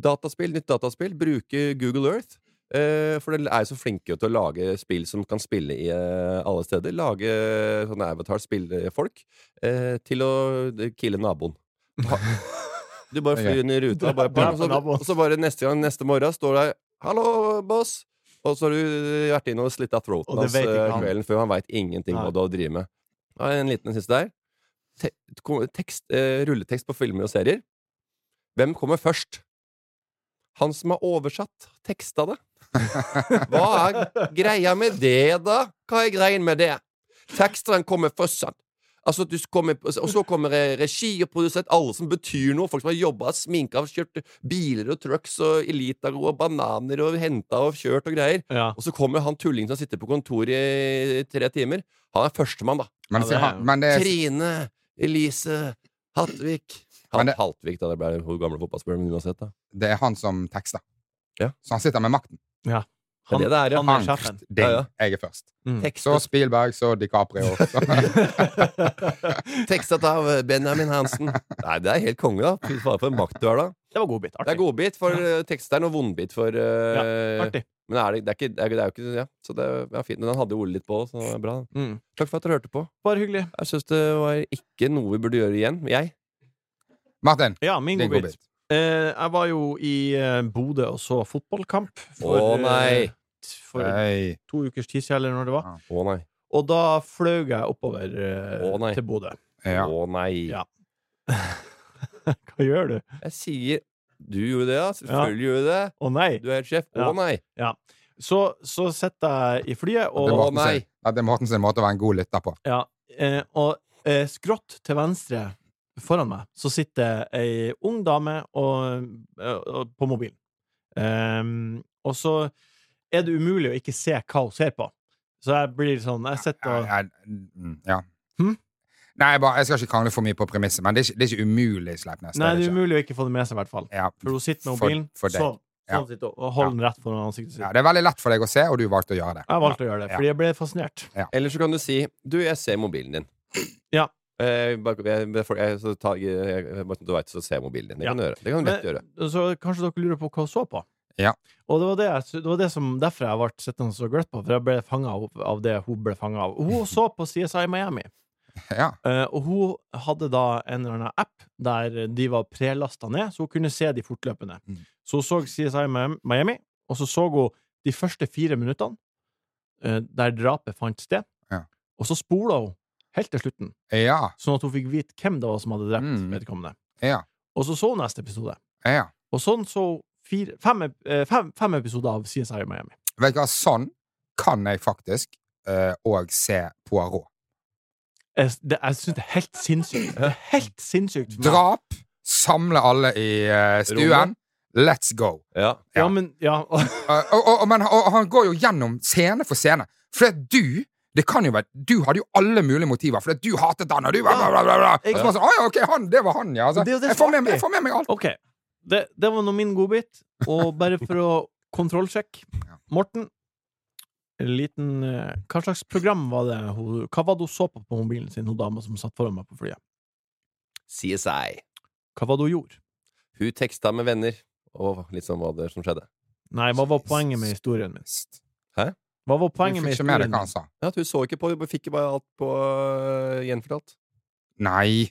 [SPEAKER 2] Dataspill, nytt dataspill. Bruke Google Earth. Eh, for dere er jo så flinke til å lage spill som kan spille i eh, alle steder. Lage eh, sånne avatar-spillefolk eh, til å kille naboen. Ha, du bare flyr inn i ruta, og, bare,
[SPEAKER 1] Dra på
[SPEAKER 2] og, så,
[SPEAKER 1] naboen.
[SPEAKER 2] og så bare neste gang neste morgen står der 'Hallo, boss', og så har du vært inn og slitt av
[SPEAKER 1] Og
[SPEAKER 2] throaten
[SPEAKER 1] det
[SPEAKER 2] hans
[SPEAKER 1] vet ikke
[SPEAKER 2] eh,
[SPEAKER 1] han.
[SPEAKER 2] kvelden før. Han veit ingenting
[SPEAKER 1] Nei.
[SPEAKER 2] hva du har å drive med. Ja, en liten en siste der. Te kom- tekst, eh, rulletekst på filmer og serier. Hvem kommer først? Han som har oversatt teksta det. Hva er greia med det, da? Hva er greia med det? Tekstene kommer først, sant? Altså, at du kommer, og så kommer eh, regi og produsent, alle som betyr noe. Folk som har jobba, sminka, kjørt biler og trucks og Elitaro og bananer og henta og kjørt og greier.
[SPEAKER 1] Ja.
[SPEAKER 2] Og så kommer han tullingen som sitter på kontoret i tre timer. Han er førstemann, da.
[SPEAKER 3] Men,
[SPEAKER 1] Ja, det
[SPEAKER 3] sier
[SPEAKER 1] er
[SPEAKER 3] han-
[SPEAKER 1] jo-
[SPEAKER 3] men det er
[SPEAKER 2] Trine, Elise, Hattvik Han
[SPEAKER 3] Men det-
[SPEAKER 2] Haltvik, da. Det ble hun gamle fotballspilleren uansett, da.
[SPEAKER 3] det er han som tekster.
[SPEAKER 2] Ja.
[SPEAKER 3] Så han sitter med makten.
[SPEAKER 2] Det er det det er, ja.
[SPEAKER 1] han er
[SPEAKER 3] Han,
[SPEAKER 1] sjefen.
[SPEAKER 3] ding,
[SPEAKER 2] Ja, ja.
[SPEAKER 3] jeg er først.
[SPEAKER 1] Mm.
[SPEAKER 3] Så
[SPEAKER 2] Tekstet,
[SPEAKER 3] Spielberg, så DiCaprio. Så.
[SPEAKER 2] tekstet av Benjamin Hansen. Nei, det er helt konge, da. Fy faen, for en makt du har, da.
[SPEAKER 1] Det var godbit.
[SPEAKER 2] Det er
[SPEAKER 1] Artig.
[SPEAKER 2] godbit for eh, teksteren og vondbit for eh,
[SPEAKER 1] Artig.
[SPEAKER 2] Men er det, det, er ikke, det, er, det er jo ikke Ja, så det er fint. Men han hadde jo ordet litt på, så det var bra.
[SPEAKER 1] Mm.
[SPEAKER 2] Takk for at dere hørte på.
[SPEAKER 1] Bare hyggelig.
[SPEAKER 2] Jeg syns det var ikke noe vi burde gjøre igjen. Jeg.
[SPEAKER 3] Martin,
[SPEAKER 1] Ja, min
[SPEAKER 3] din
[SPEAKER 1] godbit.
[SPEAKER 3] godbit.
[SPEAKER 1] Eh, jeg var jo i eh, Bodø og så fotballkamp.
[SPEAKER 2] Å, nei.
[SPEAKER 1] eh, t- for
[SPEAKER 3] Hei.
[SPEAKER 1] to ukers tid siden, eller når det var.
[SPEAKER 2] Å nei.
[SPEAKER 1] Og da fløy jeg oppover eh,
[SPEAKER 2] Å, nei.
[SPEAKER 1] til Bodø.
[SPEAKER 3] Ja.
[SPEAKER 2] Å nei.
[SPEAKER 1] Ja. Hva gjør du?
[SPEAKER 2] Jeg sier Du gjorde det, ja. Selvfølgelig gjorde du det.
[SPEAKER 1] Å nei!
[SPEAKER 2] Du er helt sjef.
[SPEAKER 1] Ja.
[SPEAKER 2] Å nei.
[SPEAKER 1] Så, så sitter jeg i flyet,
[SPEAKER 3] Det er
[SPEAKER 2] Å,
[SPEAKER 1] og,
[SPEAKER 3] Morten
[SPEAKER 2] nei.
[SPEAKER 3] sin- ja, det er Morten sin måte å være en god lytter på.
[SPEAKER 1] ja, eh, og eh, skrått til venstre foran meg så sitter ei ung dame og, eh, og, på mobilen. Ehm, og så er det umulig å ikke se hva hun ser på. Så jeg blir sånn Jeg sitter og
[SPEAKER 3] Ja, ja, mm, ja.
[SPEAKER 1] Hm?
[SPEAKER 3] Nei, jeg, bare, jeg skal ikke krangle for mye på premisset, men det er ikke, det er ikke umulig, Sleipnes.
[SPEAKER 1] Nei, det
[SPEAKER 3] ikke.
[SPEAKER 1] er umulig å ikke få det med seg, i hvert fall.
[SPEAKER 3] Ja.
[SPEAKER 1] For hun sitter med
[SPEAKER 3] For-
[SPEAKER 1] mobilen
[SPEAKER 3] for deg.
[SPEAKER 1] sånn,
[SPEAKER 3] Ja.
[SPEAKER 1] sånn sitter, hun, og holder den rett foran ansiktet sitt.
[SPEAKER 3] Ja, det er veldig lett for deg å se, og du valgte å gjøre det.
[SPEAKER 1] Jeg valgte å gjøre det,
[SPEAKER 3] Ja.
[SPEAKER 1] fordi jeg ble fascinert.
[SPEAKER 2] Eller så kan du si Du, jeg ser mobilen din.
[SPEAKER 1] Ja.
[SPEAKER 2] Eh, bare, jeg, bare for- jeg, så tar, jeg, jeg, bare så du veit, så ser jeg mobilen din. Det
[SPEAKER 1] Ja.
[SPEAKER 2] kan du gjøre. Det kan du lett
[SPEAKER 1] Men-
[SPEAKER 2] gjøre.
[SPEAKER 1] Så kanskje dere lurer på hva hun så på?
[SPEAKER 3] Ja.
[SPEAKER 1] Og det var, det, jeg- det var det som, derfor jeg ble sittende så gløtt på, for jeg ble fanga av, av det hun ble fanga av. Hun så på CSI Miami,
[SPEAKER 3] Ja.
[SPEAKER 1] eh, og hun hadde da en eller annen app der de var prelasta ned, så hun kunne se de fortløpende.
[SPEAKER 3] Mm.
[SPEAKER 1] Så hun så CSI Mi- Miami, og så så hun de første fire minuttene eh, der drapet fant sted,
[SPEAKER 3] Ja.
[SPEAKER 1] og så spola hun helt til slutten.
[SPEAKER 3] Ja.
[SPEAKER 1] sånn at hun fikk vite hvem det var som hadde drept
[SPEAKER 3] Mm.
[SPEAKER 1] vedkommende.
[SPEAKER 3] Ja.
[SPEAKER 1] Og så så hun neste episode.
[SPEAKER 3] ja.
[SPEAKER 1] Og sånn så hun fire, fem, ep- eh, fem, fem episoder av CSI Miami.
[SPEAKER 3] Vet du hva, sånn kan jeg faktisk òg se Poirot.
[SPEAKER 1] Jeg, s- det, jeg syns det er helt sinnssykt. Det er helt sinnssykt. for meg.
[SPEAKER 3] Drap, samle alle i eh, stuen.
[SPEAKER 2] Rommet.
[SPEAKER 3] Let's go.
[SPEAKER 2] Ja.
[SPEAKER 1] Ja, men ja.
[SPEAKER 3] Eh, og, og, og, men og, han går jo gjennom scene for scene. For at du det kan jo være, Du hadde jo alle mulige motiver, for at du hatet han, og du bla, bla, bla, bla, bla. Og så bare sånn, «Å ja, ok, han, Det var han, ja. Altså,
[SPEAKER 1] Men det er jo det
[SPEAKER 3] jeg, får
[SPEAKER 1] som
[SPEAKER 3] med,
[SPEAKER 1] er
[SPEAKER 3] meg- jeg får med meg alt.
[SPEAKER 1] OK. Det, det var nå min godbit. Og bare for å kontrollsjekke
[SPEAKER 3] Ja.
[SPEAKER 1] Morten, en liten eh, Hva slags program var det hun Hva var det hun så på på mobilen sin, hun dama som satt foran meg på flyet?
[SPEAKER 2] CSI.
[SPEAKER 1] Hva var det hun gjorde?
[SPEAKER 2] Hun teksta med venner, og litt sånn hva det som skjedde.
[SPEAKER 1] Nei, hva var poenget med historien min? Hva var
[SPEAKER 3] Du
[SPEAKER 1] poenget
[SPEAKER 3] fikk
[SPEAKER 1] med
[SPEAKER 3] ikke
[SPEAKER 1] historien
[SPEAKER 3] med deg hva
[SPEAKER 1] min?
[SPEAKER 3] han sa.
[SPEAKER 2] Ja, at Hun så ikke på, hun fikk bare alt på øh, gjenfortalt.
[SPEAKER 3] Nei.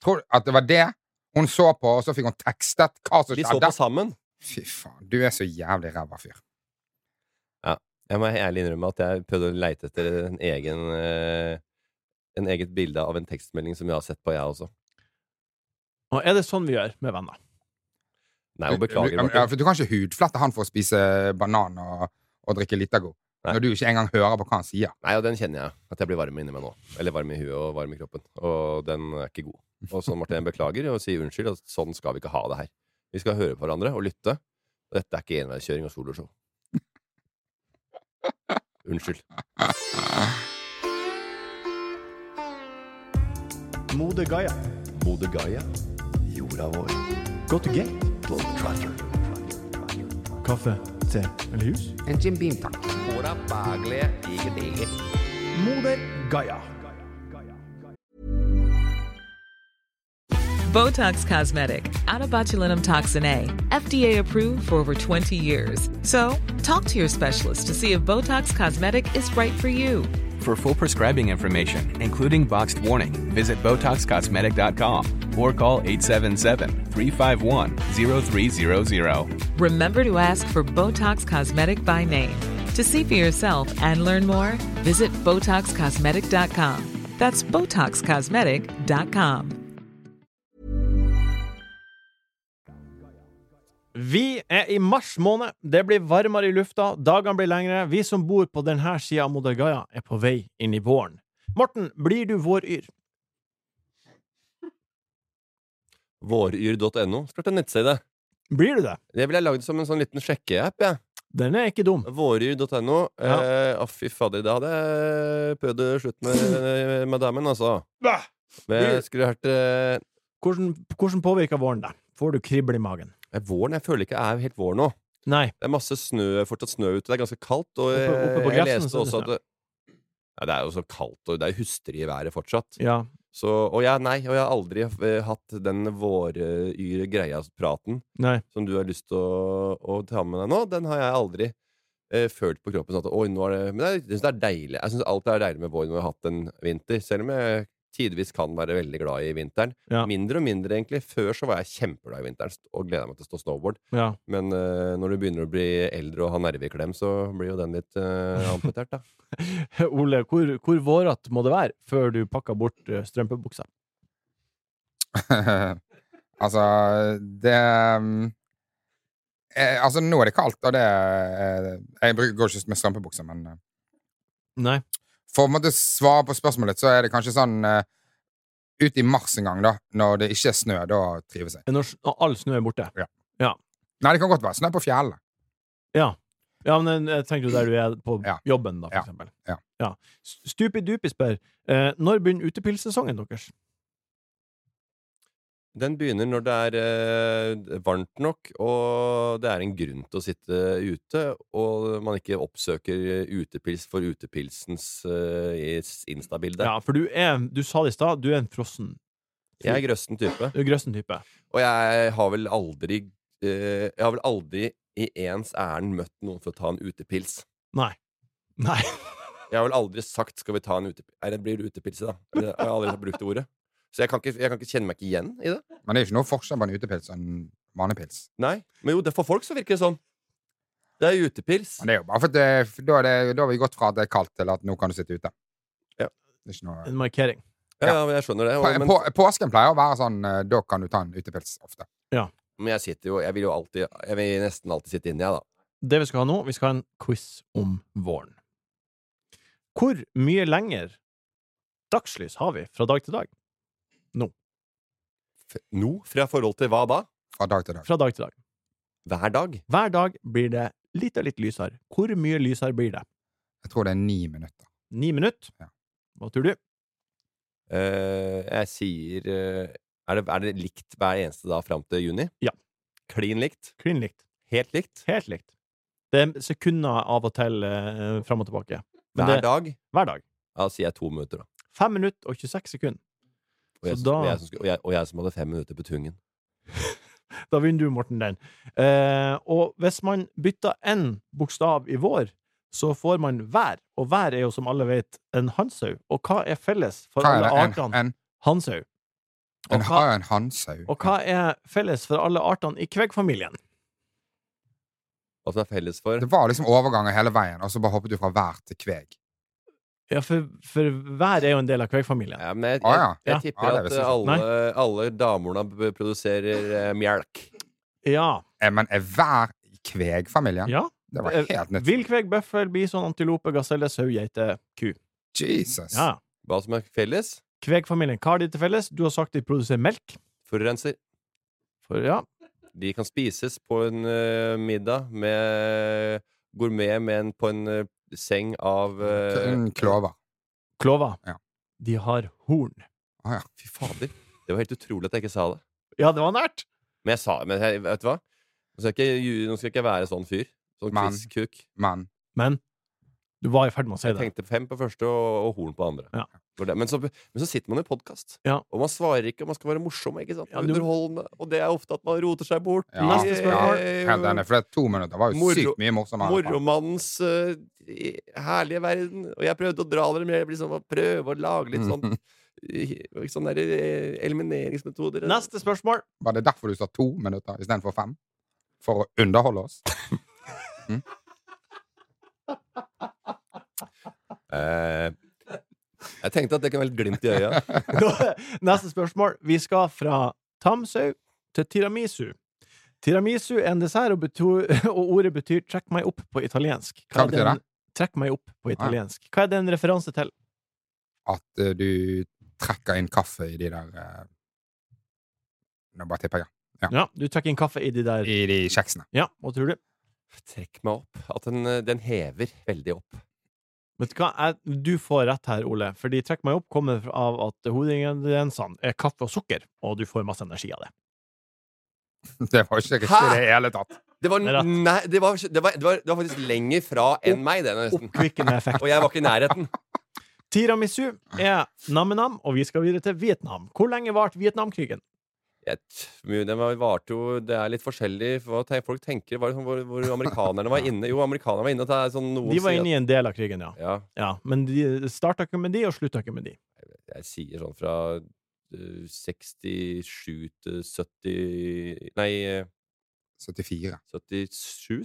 [SPEAKER 3] Tror du at det var det hun så på, og så fikk hun tekstet hva som
[SPEAKER 2] Vi så på
[SPEAKER 3] skjedde?
[SPEAKER 2] sammen.
[SPEAKER 3] Fy faen, du er så jævlig ræva fyr.
[SPEAKER 2] Jeg må ærlig innrømme at jeg prøvde å leite etter en egen øh, En eget bilde av en tekstmelding som jeg har sett på, jeg også.
[SPEAKER 1] Og er det sånn vi gjør med venner?
[SPEAKER 2] Nei, og beklager.
[SPEAKER 3] Du, ja,
[SPEAKER 2] Martin.
[SPEAKER 3] for du kan ikke hudflette han for å spise banan og, og drikke Litago.
[SPEAKER 2] Nei.
[SPEAKER 3] Når du ikke engang hører på hva han sier.
[SPEAKER 2] Nei, og den kjenner jeg. At jeg blir varm inni meg nå. Eller varm i huet og varm i kroppen. Og den er ikke god. Og så Martin jeg beklager og sier unnskyld. Og sånn skal vi ikke ha det her. Vi skal høre på hverandre og lytte. Og dette er ikke enveiskjøring og soloshow. Unnskyld.
[SPEAKER 1] Mode Gaia.
[SPEAKER 2] Bodø Gaia. Jorda vår.
[SPEAKER 1] Gå til gate. Kaffe, te eller jus?
[SPEAKER 3] En Jim Beam, takk.
[SPEAKER 1] Mode Gaia.
[SPEAKER 4] Botox Cosmetic, out of botulinum toxin A, FDA approved for over 20 years. So, talk to your specialist to see if Botox Cosmetic is right for you.
[SPEAKER 5] For full prescribing information, including boxed warning, visit BotoxCosmetic.com or call 877-351-0300.
[SPEAKER 4] Remember to ask for Botox Cosmetic by name. To see for yourself and learn more, visit BotoxCosmetic.com. That's BotoxCosmetic.com.
[SPEAKER 1] Vi er i mars måned. Det blir varmere i lufta, dagene blir lengre. Vi som bor på denne sida av Modelgaia, er på vei inn i våren. Morten, blir du våryr?
[SPEAKER 2] Våryr.no. Start en nettside.
[SPEAKER 1] Blir du det?
[SPEAKER 2] Det ville jeg lagd som en sånn liten sjekkeapp. Ja.
[SPEAKER 1] Den er ikke dum.
[SPEAKER 2] Våryr.no.
[SPEAKER 1] Ja.
[SPEAKER 2] Eh, å, fy fader, det hadde jeg prøvd å slutte med, med damen, altså. Men jeg skulle hørt eh,
[SPEAKER 1] Hvordan, hvordan påvirker våren deg? Får du kribbel i magen?
[SPEAKER 2] Våren jeg føler ikke er helt vår nå.
[SPEAKER 1] Nei.
[SPEAKER 2] Det er masse snø, fortsatt snø ute. Det er ganske kaldt. Og
[SPEAKER 1] Oppe- oppe på
[SPEAKER 2] jeg
[SPEAKER 1] gresset så er det
[SPEAKER 2] leste også at
[SPEAKER 1] snø.
[SPEAKER 2] det, ja, det er jo så kaldt, og det er hustrig i været fortsatt.
[SPEAKER 1] Ja.
[SPEAKER 2] Så, og jeg, nei, og jeg har aldri eh, hatt den våryr-greia-praten
[SPEAKER 1] Nei.
[SPEAKER 2] som du har lyst til å, å ta med deg nå. Den har jeg aldri eh, følt på kroppen. Sånn at, Oi, nå er det, men jeg syns det er deilig. Jeg synes alt er deilig med vår når vi har hatt en vinter. Selv om jeg tidvis kan være veldig glad i vinteren.
[SPEAKER 1] Ja.
[SPEAKER 2] Mindre og mindre, egentlig. Før så var jeg kjempeglad i vinteren og gleda meg til å stå snowboard.
[SPEAKER 1] Ja.
[SPEAKER 2] Men eh, når du begynner å bli eldre og ha nerveklem, så blir jo den litt eh, amputert, da.
[SPEAKER 1] Ole, hvor, hvor vårete må det være før du pakker bort eh, strømpebuksa?
[SPEAKER 3] altså, det mm, eh, Altså, nå er det kaldt, og det eh, Jeg bruker, går ikke med strømpebukser, men eh,
[SPEAKER 1] Nei.
[SPEAKER 3] for å på en måte svare på spørsmålet, så er det kanskje sånn eh, ut i mars en gang, da, når det ikke er snø. Da trives jeg.
[SPEAKER 1] Når s- når all snø er borte?
[SPEAKER 3] Nei, det kan godt være snø på fjellet.
[SPEAKER 1] Ja. Ja, men eh, jeg tenker jo der du er på
[SPEAKER 3] Ja.
[SPEAKER 1] jobben, da, for
[SPEAKER 3] Ja.
[SPEAKER 1] eksempel.
[SPEAKER 3] Ja.
[SPEAKER 1] Stupi Dupi spør eh, når begynner utepilssesongen deres?
[SPEAKER 2] Den begynner når det er eh, varmt nok, og det er en grunn til å sitte eh, ute, og man ikke oppsøker eh, utepils for utepilsens eh, is- instabilde.
[SPEAKER 1] Ja, for du er Du sa det i stad, du er en frossen
[SPEAKER 2] Jeg er grøssen type,
[SPEAKER 1] Du er grøssen type.
[SPEAKER 2] og jeg har vel aldri eh, Jeg har vel aldri i ens ærend møtt noen for å ta en utepils.
[SPEAKER 1] Nei. Nei.
[SPEAKER 2] Jeg har vel aldri sagt 'skal vi ta en utepils'? Nei, det blir utepils, da. Jeg har aldri brukt det ordet. Så jeg kan ikke, jeg kan ikke kjenne meg ikke igjen i det.
[SPEAKER 3] Men det er ikke noe forskjell på en utepils og en vanlig pils.
[SPEAKER 2] Nei, men jo, det for folk så virker det sånn. Det er utepils.
[SPEAKER 3] Men det er jo bare for at det, for da, er det, da har vi gått fra at det er kaldt, til at nå kan du sitte ute.
[SPEAKER 2] Ja.
[SPEAKER 3] Det er ikke noe...
[SPEAKER 1] En markering.
[SPEAKER 2] Ja, ja, men jeg skjønner det. Og,
[SPEAKER 3] På,
[SPEAKER 2] men,
[SPEAKER 3] på, påsken pleier å være sånn eh, Da kan du ta en utepils ofte.
[SPEAKER 2] men jeg sitter jo Jeg vil jo alltid Jeg vil nesten alltid sitte inne, jeg, da.
[SPEAKER 1] Det vi skal ha nå, vi skal ha en quiz om våren. Hvor mye lenger dagslys har vi fra dag til dag?
[SPEAKER 2] F nå? Fra forhold til hva da?
[SPEAKER 3] Fra dag til dag.
[SPEAKER 1] Fra dag til dag.
[SPEAKER 2] Hver dag?
[SPEAKER 1] Hver dag blir det litt og litt lysere. Hvor mye lysere blir det?
[SPEAKER 3] Jeg tror det er ni minutter.
[SPEAKER 1] Ni minutter?
[SPEAKER 3] Ja.
[SPEAKER 1] Hva tror du?
[SPEAKER 2] Eh, jeg sier eh, er, det, er det likt hver eneste dag fram til juni?
[SPEAKER 1] Ja.
[SPEAKER 2] Klin likt?
[SPEAKER 1] Klin likt.
[SPEAKER 2] Helt likt?
[SPEAKER 1] Helt likt. Det er sekunder av og til eh, fram og tilbake. Men
[SPEAKER 2] Hver
[SPEAKER 1] det-
[SPEAKER 2] dag?
[SPEAKER 1] Hver dag.
[SPEAKER 2] Ja, sier jeg to minutter, da.
[SPEAKER 1] 5 minutter og 26 sekunder.
[SPEAKER 2] Og jeg,
[SPEAKER 1] Så
[SPEAKER 2] som-
[SPEAKER 1] da-
[SPEAKER 2] og, jeg, som skulle- og, jeg, og jeg som hadde fem minutter på tungen.
[SPEAKER 1] Da vinner du, Morten, den. Eh, og hvis man bytter én bokstav i vår, så får man vær, og vær er jo som alle vet en hannsau. Og hva er felles for
[SPEAKER 3] Hva er
[SPEAKER 1] alle
[SPEAKER 3] det? En,
[SPEAKER 1] artene?
[SPEAKER 3] en,
[SPEAKER 1] Hannsau. Og
[SPEAKER 3] en,
[SPEAKER 1] hva,
[SPEAKER 3] en hannsau.
[SPEAKER 1] og hva er felles for alle artene i kveggfamilien?
[SPEAKER 2] Hva som er felles for
[SPEAKER 3] Det var liksom overganger hele veien, og så bare hoppet du fra hver til kveg.
[SPEAKER 1] Ja, for, for vær er jo en del av kveggfamilien.
[SPEAKER 2] ja, men jeg,
[SPEAKER 3] Å,
[SPEAKER 2] jeg,
[SPEAKER 3] Ah, ja.
[SPEAKER 2] jeg,
[SPEAKER 1] Ja.
[SPEAKER 2] tipper
[SPEAKER 3] Ja, det er
[SPEAKER 2] at
[SPEAKER 3] visst sant.
[SPEAKER 2] alle, alle damorna b- produserer eh, mjelk.
[SPEAKER 1] Ja.
[SPEAKER 3] Eh, Men er hver i kvegfamilien?
[SPEAKER 1] ja.
[SPEAKER 3] Det var
[SPEAKER 1] Eh,
[SPEAKER 3] helt nytt.
[SPEAKER 1] Vill kvegg, bøffel, bison, antilope, gaselle, sau, geite, ku.
[SPEAKER 3] Jesus.
[SPEAKER 1] Ja.
[SPEAKER 2] Hva som er felles?
[SPEAKER 1] Kvegfamilien, hva har de til felles? Du har sagt de produserer melk.
[SPEAKER 2] Forurenser.
[SPEAKER 1] For, ja.
[SPEAKER 2] De kan spises på en eh, middag med gourmet, men på en eh, seng av eh,
[SPEAKER 3] En klover.
[SPEAKER 1] Klova.
[SPEAKER 3] Ja.
[SPEAKER 1] De har horn.
[SPEAKER 3] Å, ja.
[SPEAKER 2] Fy fader. Det var helt utrolig at jeg ikke sa det.
[SPEAKER 1] Ja, det var nært!
[SPEAKER 2] Men jeg sa men jeg, vet du hva? Nå skal, jeg ikke, ju- nå skal jeg ikke være sånn fyr. Sånn
[SPEAKER 3] Men-
[SPEAKER 2] kvisskuk.
[SPEAKER 3] Men
[SPEAKER 1] Men Du var i ferd med å si
[SPEAKER 2] Jeg
[SPEAKER 1] det.
[SPEAKER 2] tenkte fem på første og, og horn på andre.
[SPEAKER 1] Ja.
[SPEAKER 2] Det var det. Men, så, men så sitter man i podkast,
[SPEAKER 1] Ja.
[SPEAKER 2] og man svarer ikke, og man skal være morsom. Ikke sant?
[SPEAKER 1] Ja, du-
[SPEAKER 2] Underholdende. Og det er ofte at man roter seg bort.
[SPEAKER 3] Ja,
[SPEAKER 1] Neste spørsmål.
[SPEAKER 2] Eh,
[SPEAKER 3] Helt enig, for det er to minutter var jo
[SPEAKER 2] Moro-
[SPEAKER 3] sykt mye morsommere.
[SPEAKER 2] Morromannens eh, i- herlige verden. Og jeg prøvde å dra dere med, liksom, og prøve å lage litt sånn eh, Sånne der, eh, elimineringsmetoder.
[SPEAKER 1] Neste spørsmål.
[SPEAKER 3] Var det derfor du sa to minutter istedenfor fem? For å underholde oss?
[SPEAKER 2] Eh, jeg tenkte at det kunne være litt glimt i øya.
[SPEAKER 1] Neste spørsmål. Vi skal fra Tamsau til tiramisu. Tiramisu er en dessert, og, beto- og ordet betyr 'trekk meg opp' på italiensk.
[SPEAKER 3] Hva
[SPEAKER 1] er
[SPEAKER 3] betyr
[SPEAKER 1] en- Trekk meg opp på italiensk. Hva er det en referanse til?
[SPEAKER 3] At eh, du trekker inn kaffe i de der eh, Nå bare tipper jeg.
[SPEAKER 1] Ja, du trekker inn kaffe i de der
[SPEAKER 3] I de kjeksene.
[SPEAKER 1] Ja, hva tror du?
[SPEAKER 2] Trekk meg opp. At den, eh, den hever veldig opp.
[SPEAKER 1] Vet du hva, jeg, du får rett her, Ole, fordi trekk meg opp kommer av at hovedingrediensene er kaffe og sukker, og du får masse energi av det.
[SPEAKER 3] Det var ikke riktig
[SPEAKER 2] Hæ?
[SPEAKER 3] i det hele tatt.
[SPEAKER 2] Det var,
[SPEAKER 1] Det er rett.
[SPEAKER 2] nei, det var, det var, det var, det var faktisk lenger fra enn meg, det, nesten.
[SPEAKER 1] Oppkvikkende effekt.
[SPEAKER 2] Og jeg var ikke i nærheten.
[SPEAKER 1] Tiramisu er nam-nam, og vi skal videre til Vietnam. Hvor lenge varte Vietnamkrigen?
[SPEAKER 2] Jeg t- men Den var- varte jo Det er litt forskjellig for hva te- folk tenker. Var det sånn, hvor, hvor amerikanerne var inne? Jo, amerikanerne var inne. At det er sånn noen
[SPEAKER 1] De var inne i en del av krigen, ja.
[SPEAKER 2] Ja,
[SPEAKER 1] ja men de starta ikke med de, og slutta ikke med de.
[SPEAKER 2] jeg sier sånn fra eh, 67 til 70 Nei, eh,
[SPEAKER 3] 74.
[SPEAKER 2] 77,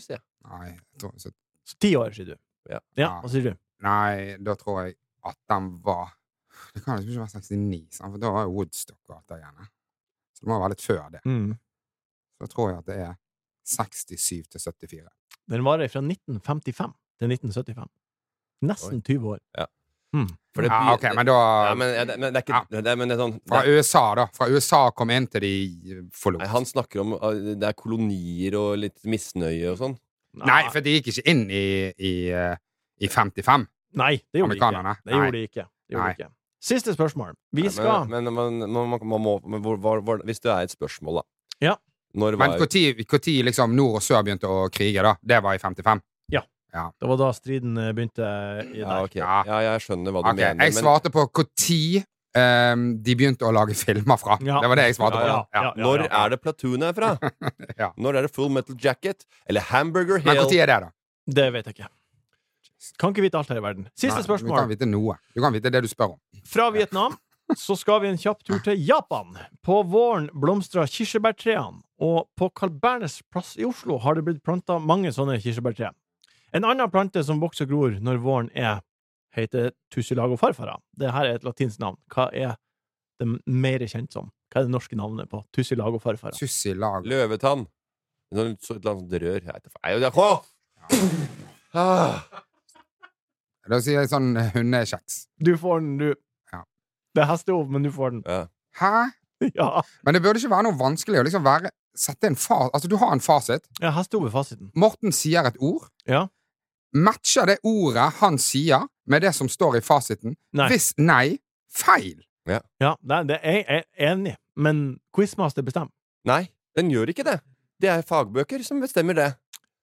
[SPEAKER 2] sier jeg.
[SPEAKER 3] Nei, jeg tror, så,
[SPEAKER 1] Så ti år, sier du.
[SPEAKER 2] Ja.
[SPEAKER 1] hva sier du?
[SPEAKER 3] nei, da tror jeg at den var Det kan liksom ikke være 69, sant? for da var jo Woodstock og alt det greiene. Så det må være litt før det.
[SPEAKER 1] Mm.
[SPEAKER 3] Så tror jeg at det er 67 til 74.
[SPEAKER 1] Den varer fra 1955 til 1975. Nesten 20 år.
[SPEAKER 2] For det begy-
[SPEAKER 3] Ja, ok, men da
[SPEAKER 2] ja, men, ja, det, men det er ikke det, er- men det er sånn
[SPEAKER 3] Fra
[SPEAKER 2] det,
[SPEAKER 3] USA, da. Fra USA kom inn til de eh, forlot.
[SPEAKER 2] nei, Han snakker om eh, det er kolonier og litt misnøye og sånn.
[SPEAKER 3] Nei, for de gikk ikke inn i, i, eh, i 55.
[SPEAKER 1] Nei, det gjorde de ikke.
[SPEAKER 3] Amerikanerne?
[SPEAKER 1] Det gjorde de ikke. Det gjorde
[SPEAKER 3] Nei.
[SPEAKER 1] de ikke. Siste spørsmål. Vi
[SPEAKER 2] Nei,
[SPEAKER 1] skal
[SPEAKER 2] Men, men, man- man- man må, men hvor, hvor, hvor, hvis det er et spørsmål, da.
[SPEAKER 1] Ja.
[SPEAKER 2] Når
[SPEAKER 3] Men
[SPEAKER 2] var
[SPEAKER 3] når liksom nord og sør begynte å krige, da? Det var i 55.
[SPEAKER 1] Det var da striden eh, begynte i
[SPEAKER 2] ja,
[SPEAKER 1] der.
[SPEAKER 2] ok. ja. jeg skjønner hva du
[SPEAKER 3] Ok,
[SPEAKER 2] mener.
[SPEAKER 3] jeg svarte på når de begynte å lage filmer fra.
[SPEAKER 1] Ja.
[SPEAKER 3] Det var det jeg svarte på.
[SPEAKER 1] Ja, ja, ja,
[SPEAKER 2] men når er det Platoon er fra?
[SPEAKER 3] Ja.
[SPEAKER 2] Når er det Full Metal Jacket? Eller Hamburger
[SPEAKER 3] Men
[SPEAKER 2] Hill?
[SPEAKER 3] når er det, da?
[SPEAKER 1] Det vet jeg ikke. Kan ikke vite alt her i verden. Siste
[SPEAKER 3] Nei, Du kan
[SPEAKER 1] spørsmål.
[SPEAKER 3] vite noe. Du kan vite det du spør om.
[SPEAKER 1] Fra Vietnam så skal vi en kjapp tur til Japan. På våren blomstrer kirsebærtrærne, og på Carl Berners plass i Oslo har det blitt planta mange sånne kirsebærtre. En annen plante som vokser og gror når våren er, heter tussilago farfara. Det her er et latinsk navn. Hva er det mer kjent som? Hva er det norske navnet på tussilago farfara?
[SPEAKER 3] Sussi Lago.
[SPEAKER 2] Løvetann. Sånn, så, et eller annet sånt rør. Jeg vet ikke. Nei, det er- Åh! Ah.
[SPEAKER 3] Da sier jeg sånn hundekjeks.
[SPEAKER 1] Du får den, du.
[SPEAKER 3] Ja.
[SPEAKER 1] Det er hestehov, men du får den.
[SPEAKER 2] Ja.
[SPEAKER 3] Hæ?
[SPEAKER 1] Ja,
[SPEAKER 3] Men det burde ikke være noe vanskelig å liksom være Sette en fas... Altså, du har en fasit.
[SPEAKER 1] ja hestehov er fasiten.
[SPEAKER 3] Morten sier et ord.
[SPEAKER 1] Ja.
[SPEAKER 3] Matcher det ordet han sier, med det som står i fasiten?
[SPEAKER 1] Nei.
[SPEAKER 3] Hvis nei, feil.
[SPEAKER 1] Ja, nei, det er jeg er enig, men quizmaster bestemmer.
[SPEAKER 2] Nei, den gjør ikke det. Det er fagbøker som bestemmer det.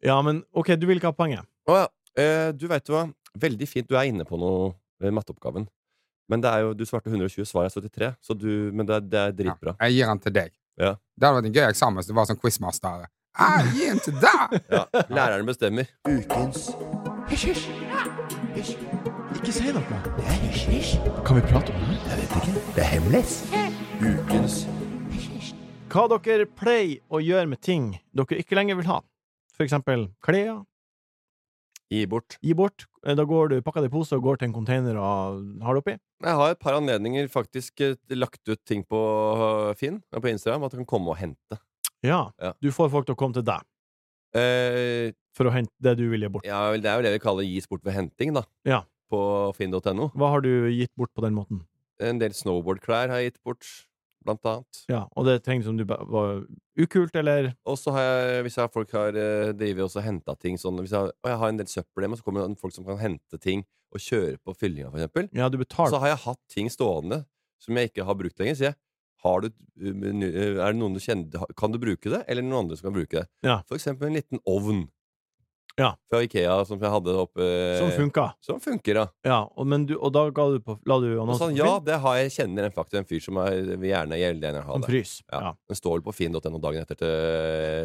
[SPEAKER 1] Ja, men OK, du vil ikke ha poenget.
[SPEAKER 2] Å ja. Eh, du veit hva. Veldig fint. Du er inne på noe ved matteoppgaven. Men det er jo, du svarte 120, svaret er 73. Så du, men det, er- det er dritbra.
[SPEAKER 3] Jeg gir den til deg.
[SPEAKER 2] Ja.
[SPEAKER 3] Det hadde vært en gøy eksamen hvis det var sånn quizmaster. Jeg gir den til deg!
[SPEAKER 2] Ja. Læreren bestemmer.
[SPEAKER 1] Ikke si noe. Kan vi prate om det? Jeg vet ikke. Det er hemmelig. Hva dere pleier å gjøre med ting dere ikke lenger vil ha. For eksempel klær,
[SPEAKER 2] Gi bort.
[SPEAKER 1] gi bort. Eh, Da går du, pakker det i pose og går til en container og har det oppi.
[SPEAKER 2] Jeg har et par anledninger faktisk eh, lagt ut ting på eh, Finn og på Instagram at du kan komme og hente.
[SPEAKER 1] Ja.
[SPEAKER 2] Ja.
[SPEAKER 1] Du får folk til å komme til deg
[SPEAKER 2] Eh,
[SPEAKER 1] for å hente det du vil gi bort.
[SPEAKER 2] ja, vel, det er jo det vi kaller gis bort ved henting, da.
[SPEAKER 1] Ja.
[SPEAKER 2] På finn.no.
[SPEAKER 1] Hva har du gitt bort på den måten?
[SPEAKER 2] En del snowboardklær har jeg gitt bort, blant annet.
[SPEAKER 1] Ja, Og det er ting som du ba- var ukult, eller
[SPEAKER 2] Og så har jeg, hvis jeg, folk har eh, drevet også henta ting sånn hvis jeg, og jeg har en del søppel hjemme, så kommer det folk som kan hente ting og kjøre på fyllinga, for eksempel.
[SPEAKER 1] Ja, du betalte
[SPEAKER 2] Så har jeg hatt ting stående som jeg ikke har brukt lenger. Sier jeg har du, um, ny- er det noen du kjenner Kan du bruke det, eller noen andre som kan bruke det?
[SPEAKER 1] Ja.
[SPEAKER 2] For eksempel en liten ovn.
[SPEAKER 1] Ja.
[SPEAKER 2] fra Ikea som jeg hadde oppe
[SPEAKER 1] Som funka.
[SPEAKER 2] Som funker, ja.
[SPEAKER 1] Ja, og, men du, og da ga du på, la du
[SPEAKER 2] Og
[SPEAKER 1] annonsen
[SPEAKER 2] sånn,
[SPEAKER 1] på
[SPEAKER 2] ja,
[SPEAKER 1] Finn?
[SPEAKER 2] det har jeg kjenner en faktisk en fyr som er, vil gjerne gjelde den jeg
[SPEAKER 1] Som
[SPEAKER 2] har. det.
[SPEAKER 1] frys.
[SPEAKER 2] Ja.
[SPEAKER 1] Ja.
[SPEAKER 2] Den står vel på finn.no dagen etter til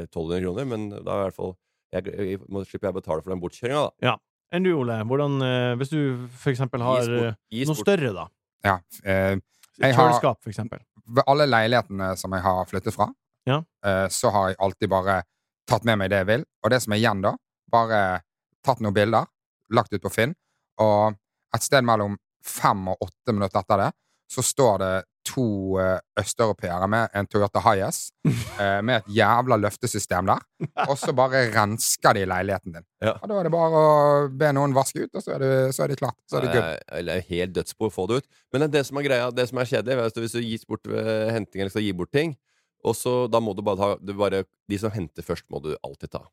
[SPEAKER 2] 1200 kroner, men da er i hvert fall jeg, jeg, må slipper jeg å betale for den bortkjøringa, da.
[SPEAKER 1] Enn du, Ole? Hvordan, eh, hvis du for eksempel har
[SPEAKER 2] Gis bort-
[SPEAKER 1] eh,
[SPEAKER 2] gis
[SPEAKER 1] noe
[SPEAKER 2] bort.
[SPEAKER 1] større, da?
[SPEAKER 3] Ja. eh, Jeg har-
[SPEAKER 1] Kjøleskap, for eksempel.
[SPEAKER 3] ved alle leilighetene som jeg har flyttet fra,
[SPEAKER 1] Ja.
[SPEAKER 3] eh, så har jeg alltid bare tatt med meg det jeg vil. Og det som er igjen, da, bare tatt noen bilder, lagt ut på Finn, og et sted mellom fem og åtte minutter etter det, så står det to eh, østeuropeere med en Toyota Hiace, eh, med et jævla løftesystem der, og så bare rensker de leiligheten din.
[SPEAKER 2] Ja.
[SPEAKER 3] Og da er det bare å be noen vaske ut, og så er det, så er det klart. Så er det
[SPEAKER 2] det
[SPEAKER 3] good.
[SPEAKER 2] er, det Eh, er helt dødsbo å få det ut. Men det, er det som er greia, det som er kjedelig, er at hvis du gis bort ved henting eller skal gi bort ting, og så da må du bare ta du bare, De som henter først, må du alltid ta.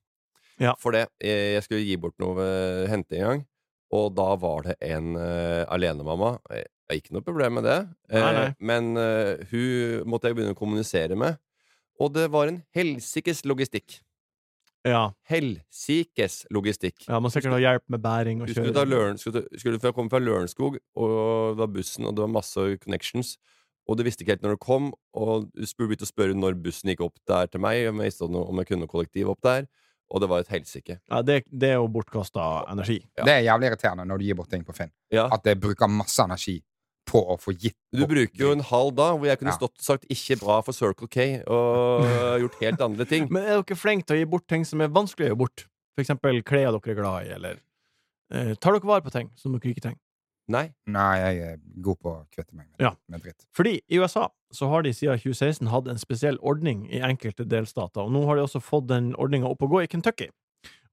[SPEAKER 1] Ja.
[SPEAKER 2] For det, eh, jeg skulle gi bort noe ved henting en gang, og da var det en eh, alenemamma. Eh, Ikke noe problem med det, eh,
[SPEAKER 1] Nei, nei.
[SPEAKER 2] men eh, hun måtte jeg begynne å kommunisere med, og det var en helsikes logistikk.
[SPEAKER 1] Ja.
[SPEAKER 2] Helsikes logistikk.
[SPEAKER 1] ja, må sikkert ha hjelp med bæring og
[SPEAKER 2] Du skulle, ta
[SPEAKER 1] kjøre.
[SPEAKER 2] Løren, skulle, ta- skulle fra- komme fra Lørenskog, og det var bussen, og det var masse connections. Og du visste ikke helt når du kom, og du spur- begynte å spørre når bussen gikk opp der til meg, om jeg, visste noe- om jeg kunne kollektiv opp der, og det var et helsike.
[SPEAKER 1] Ja, det, det er jo bortkasta energi.
[SPEAKER 2] Ja.
[SPEAKER 3] Det er jævlig irriterende når du gir bort ting på Finn.
[SPEAKER 2] Ja.
[SPEAKER 3] At jeg bruker masse energi på å få gitt
[SPEAKER 2] Du
[SPEAKER 3] bort
[SPEAKER 2] bruker jo en halv dag hvor jeg kunne
[SPEAKER 3] Ja.
[SPEAKER 2] stått og sagt 'ikke bra for Circle K', og gjort helt andre ting.
[SPEAKER 1] Men er dere flinke til å gi bort ting som er vanskelig å gi bort? For eksempel klær dere er glad i, eller eh, Tar dere vare på ting som dere ikke trenger?
[SPEAKER 2] Nei.
[SPEAKER 3] Nei, jeg er god på å kvitte meg med,
[SPEAKER 1] Ja.
[SPEAKER 3] med dritt.
[SPEAKER 1] Fordi i USA så har de siden 2016 hatt en spesiell ordning i enkelte delstater, og nå har de også fått den ordninga opp og gå i Kentucky.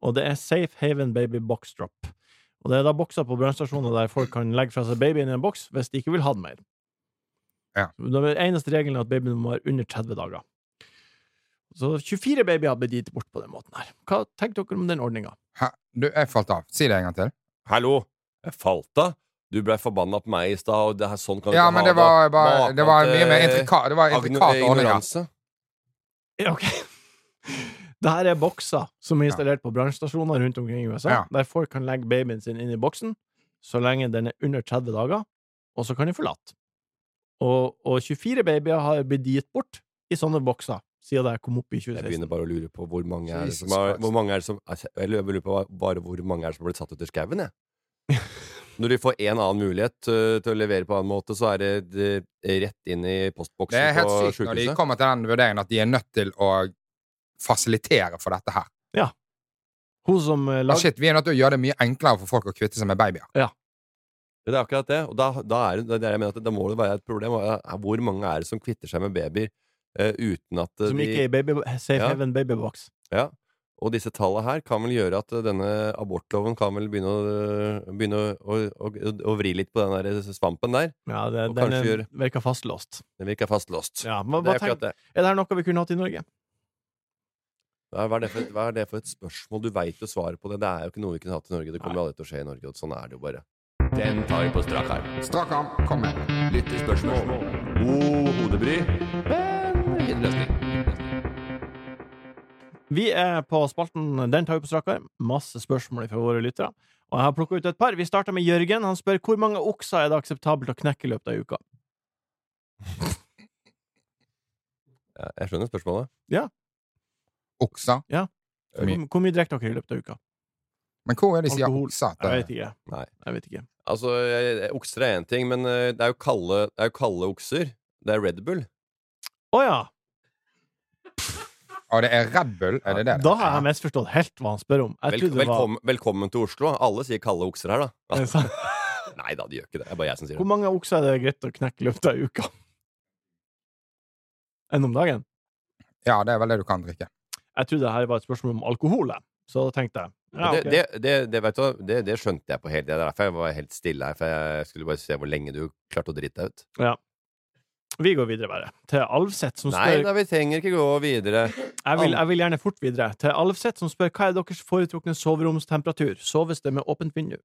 [SPEAKER 1] Og det er Safe Haven Baby Box Drop. Og det er da bokser på brannstasjoner der folk kan legge fra seg babyen i en boks hvis de ikke vil ha den mer.
[SPEAKER 3] Ja.
[SPEAKER 1] Den eneste regelen er at babyen må være under 30 dager. Så 24 babyer ble gitt bort på den måten her. Hva tenker dere om den ordninga?
[SPEAKER 3] Hæ? Du, jeg falt av. Si det en gang til.
[SPEAKER 2] Hallo! Jeg falt av. Du blei forbanna på meg i stad, og det her, sånn kan du
[SPEAKER 3] Ja,
[SPEAKER 2] ikke
[SPEAKER 3] men
[SPEAKER 2] ha
[SPEAKER 3] det var, bare, det var mye mer
[SPEAKER 2] intrikat
[SPEAKER 3] intrikat. Det var intrikat ordninger.
[SPEAKER 2] Ignoranse.
[SPEAKER 1] Ja, ok. Det her er bokser som er installert på brannstasjoner rundt omkring i USA,
[SPEAKER 3] Ja.
[SPEAKER 1] der folk kan legge babyen sin inn i boksen så lenge den er under 30 dager, og så kan de forlate. Og, og 24 babyer har blitt gitt bort i sånne bokser siden det kom opp i
[SPEAKER 2] Jeg begynner
[SPEAKER 1] 2016.
[SPEAKER 2] bare å lure på hvor mange er det
[SPEAKER 3] Jesus
[SPEAKER 2] som har,
[SPEAKER 3] Christ.
[SPEAKER 2] hvor mange er det som, altså, Jeg lurer på bare hvor mange er det som har blitt satt ut i skauen, jeg. Når de får en annen mulighet øh, til å levere på en annen måte, så er det, det rett inn i postboksen
[SPEAKER 3] Det er helt
[SPEAKER 2] på
[SPEAKER 3] sykt når de
[SPEAKER 2] sjukehuset.
[SPEAKER 3] kommer til den vurderingen at de er nødt til å fasilitere for dette her.
[SPEAKER 1] Hun som eh,
[SPEAKER 3] Ah,
[SPEAKER 1] lag...
[SPEAKER 3] shit, vi er nødt til å gjøre det mye enklere for folk å kvitte seg med babyer.
[SPEAKER 2] Det er akkurat det. Og da, da, er det, det er det jeg mener at da må det være et problem. og, eh, Hvor mange er det som kvitter seg med babyer eh, uten at eh,
[SPEAKER 1] Som
[SPEAKER 2] de
[SPEAKER 1] ikke er i baby, Safe
[SPEAKER 2] Ja.
[SPEAKER 1] Haven babybox.
[SPEAKER 2] Ja, og disse tallene her kan vel gjøre at eh, denne abortloven kan vel begynne å, øh, begynne å, å, å, å vri litt på den der svampen der.
[SPEAKER 1] Ja, det, den
[SPEAKER 2] Og kanskje
[SPEAKER 1] er,
[SPEAKER 2] gjør-
[SPEAKER 1] virker fastlåst.
[SPEAKER 2] Den virker fastlåst.
[SPEAKER 1] Ja, men,
[SPEAKER 2] det
[SPEAKER 1] hva
[SPEAKER 2] er akkurat
[SPEAKER 1] tenk,
[SPEAKER 2] det.
[SPEAKER 1] er det her noe vi kunne hatt i Norge?
[SPEAKER 2] Hva hva er, det for, hva er det for et spørsmål? Du veit jo svaret på det. Det er jo ikke noe vi kunne hatt i Norge. Det kommer jo aldri til å skje i Norge. og Sånn er det jo bare. Den tar vi på strak arm.
[SPEAKER 3] Strak arm, kom med.
[SPEAKER 2] Lyttespørsmål. God hodebry, men fin løsning.
[SPEAKER 1] Vi er på spalten Den tar vi på strak arm. Masse spørsmål fra våre lyttere. Og jeg har plukka ut et par. Vi starter med Jørgen. Han spør hvor mange okser er det akseptabelt å knekke i løpet av uka.
[SPEAKER 2] Ja, jeg skjønner spørsmålet.
[SPEAKER 3] Okser.
[SPEAKER 1] Hvor,
[SPEAKER 3] Mye.
[SPEAKER 1] hvor mye drikker dere i løpet av uka?
[SPEAKER 3] Men hvor er det de sier
[SPEAKER 1] Alkohol.
[SPEAKER 3] okser?
[SPEAKER 1] Jeg vet
[SPEAKER 3] til?
[SPEAKER 1] ikke.
[SPEAKER 2] Nei.
[SPEAKER 1] Jeg vet ikke.
[SPEAKER 2] Altså, eh, okser er én ting, men eh, det er jo kalde, det er jo kalde okser. Det er Red Bull.
[SPEAKER 1] Å ja!
[SPEAKER 3] Å, Ah, det er Red Bull, er det det?
[SPEAKER 1] Da har jeg misforstått helt hva han spør om. Jeg
[SPEAKER 2] Vel,
[SPEAKER 1] trodde det var
[SPEAKER 2] velkommen, velkommen til Oslo. Alle sier kalde okser her, da. Ah, Nei da, de gjør ikke det. Det er bare jeg som sier
[SPEAKER 1] Hvor
[SPEAKER 2] det.
[SPEAKER 1] mange okser er det greit å knekke i løpet av uka? Enn om dagen?
[SPEAKER 3] Ja, det er vel det du kan drikke.
[SPEAKER 1] Jeg trodde det her var et spørsmål om alkohol, jeg. så da tenkte jeg ja,
[SPEAKER 2] Men
[SPEAKER 1] ok.
[SPEAKER 2] det, det, det, det, vet du, hva, det, det skjønte jeg på hele tida. Det er derfor jeg var helt stille her. For jeg skulle bare se hvor lenge du klarte å drite deg ut.
[SPEAKER 1] Vi går videre, bare. Til Alvseth, som
[SPEAKER 2] Nei
[SPEAKER 1] spør
[SPEAKER 2] da, vi trenger ikke gå videre.
[SPEAKER 1] Jeg vil, jeg vil gjerne fort videre til Alfseth, som spør hva er deres foretrukne soveromstemperatur. Soves det med åpent vindu?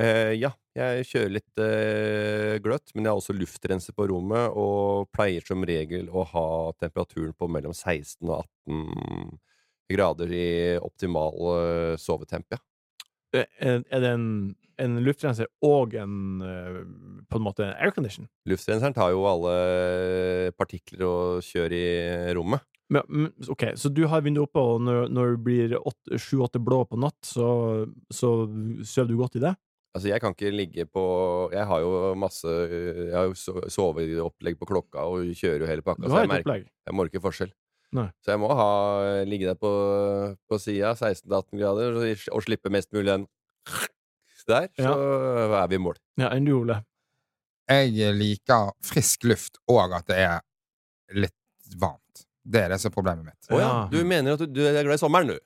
[SPEAKER 2] Eh, ja, jeg kjører litt eh, gløtt, men jeg har også luftrenser på rommet, og pleier som regel å ha temperaturen på mellom 16 og 18 grader i optimal eh, sovetemp. Ja.
[SPEAKER 1] Er er det en, en luftrenser og en eh, på en måte aircondition?
[SPEAKER 2] Luftrenseren tar jo alle partikler og kjører i rommet.
[SPEAKER 1] Men, men, ok, så du har vinduet oppe, og når, når det blir åtte- sju-åtte blå på natt, så, så sover du godt i det?
[SPEAKER 2] Altså, jeg kan ikke ligge på Jeg har jo masse eh, Jeg har jo so- soveopplegg på klokka og kjører jo hele pakka,
[SPEAKER 1] Du
[SPEAKER 2] så
[SPEAKER 1] har
[SPEAKER 2] jeg
[SPEAKER 1] et
[SPEAKER 2] merker
[SPEAKER 1] opplegg.
[SPEAKER 2] Jeg må ikke forskjell.
[SPEAKER 1] Nei.
[SPEAKER 2] Så jeg må ha, ligge der på, på sida, 16-18 grader, og, og slippe mest mulig den der, så er vi i mål.
[SPEAKER 1] Ja, enn du, Ole.
[SPEAKER 3] Jeg liker frisk luft, og at det er litt varmt. Det er det som er problemet mitt.
[SPEAKER 2] Å ja.
[SPEAKER 1] Ja.
[SPEAKER 2] Du mener at du, du er glad i sommeren, du?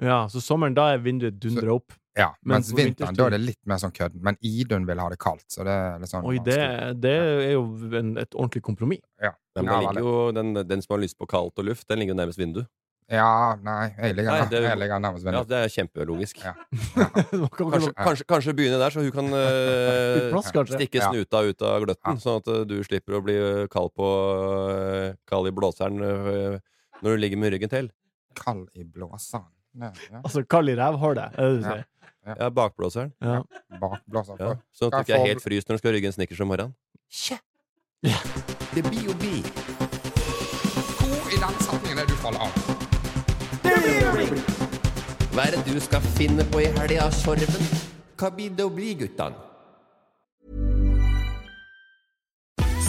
[SPEAKER 1] Ja, så sommeren, da er vinduet dundra opp.
[SPEAKER 3] Ja,
[SPEAKER 1] Men
[SPEAKER 3] Mens
[SPEAKER 1] på
[SPEAKER 3] vinteren,
[SPEAKER 1] vinterstid-
[SPEAKER 3] da er det litt mer sånn kødden. Men Idun vil ha det kaldt, så det er litt sånn
[SPEAKER 1] Oi, det,
[SPEAKER 3] vanskelig.
[SPEAKER 1] det er jo en, et ordentlig kompromiss.
[SPEAKER 3] Ja.
[SPEAKER 2] Nei, men
[SPEAKER 3] Ja,
[SPEAKER 2] den, ligger
[SPEAKER 3] veldig.
[SPEAKER 2] jo, den, den som har lyst på kaldt og luft, den ligger jo nærmest vindu.
[SPEAKER 3] Ja, nei, jeg ligger,
[SPEAKER 2] Nei,
[SPEAKER 3] nær-
[SPEAKER 2] det-
[SPEAKER 3] jeg ligger
[SPEAKER 2] Ja,
[SPEAKER 3] nærmest vinduet.
[SPEAKER 2] det er kjempelogisk.
[SPEAKER 3] Ja.
[SPEAKER 2] Kanskje,
[SPEAKER 3] Ja.
[SPEAKER 2] kanskje, kanskje begynne der, så hun kan eh,
[SPEAKER 1] Litt plass, kanskje.
[SPEAKER 2] stikke
[SPEAKER 3] Ja.
[SPEAKER 2] snuta ut av gløtten,
[SPEAKER 3] Ja.
[SPEAKER 2] sånn at eh, du slipper å bli eh, kald på eh, kald i blåseren eh, når du ligger med ryggen til.
[SPEAKER 3] Kald i blåseren. Nei, ja.
[SPEAKER 1] Altså, kald i rævhålet, er det du sier.
[SPEAKER 2] Ja, bakblåseren.
[SPEAKER 1] Ja.
[SPEAKER 3] Bakblåser.
[SPEAKER 2] Ja.
[SPEAKER 3] på.
[SPEAKER 2] Sånn at du
[SPEAKER 3] Kan jeg
[SPEAKER 2] ikke
[SPEAKER 3] få-
[SPEAKER 2] er helt fryst når du skal rygge en snickers om morgenen.
[SPEAKER 3] Hvor i den setningen er det du faller av?
[SPEAKER 2] Hva er det du skal finne på i helga, Sorven? Hva blir det å bli, guttan?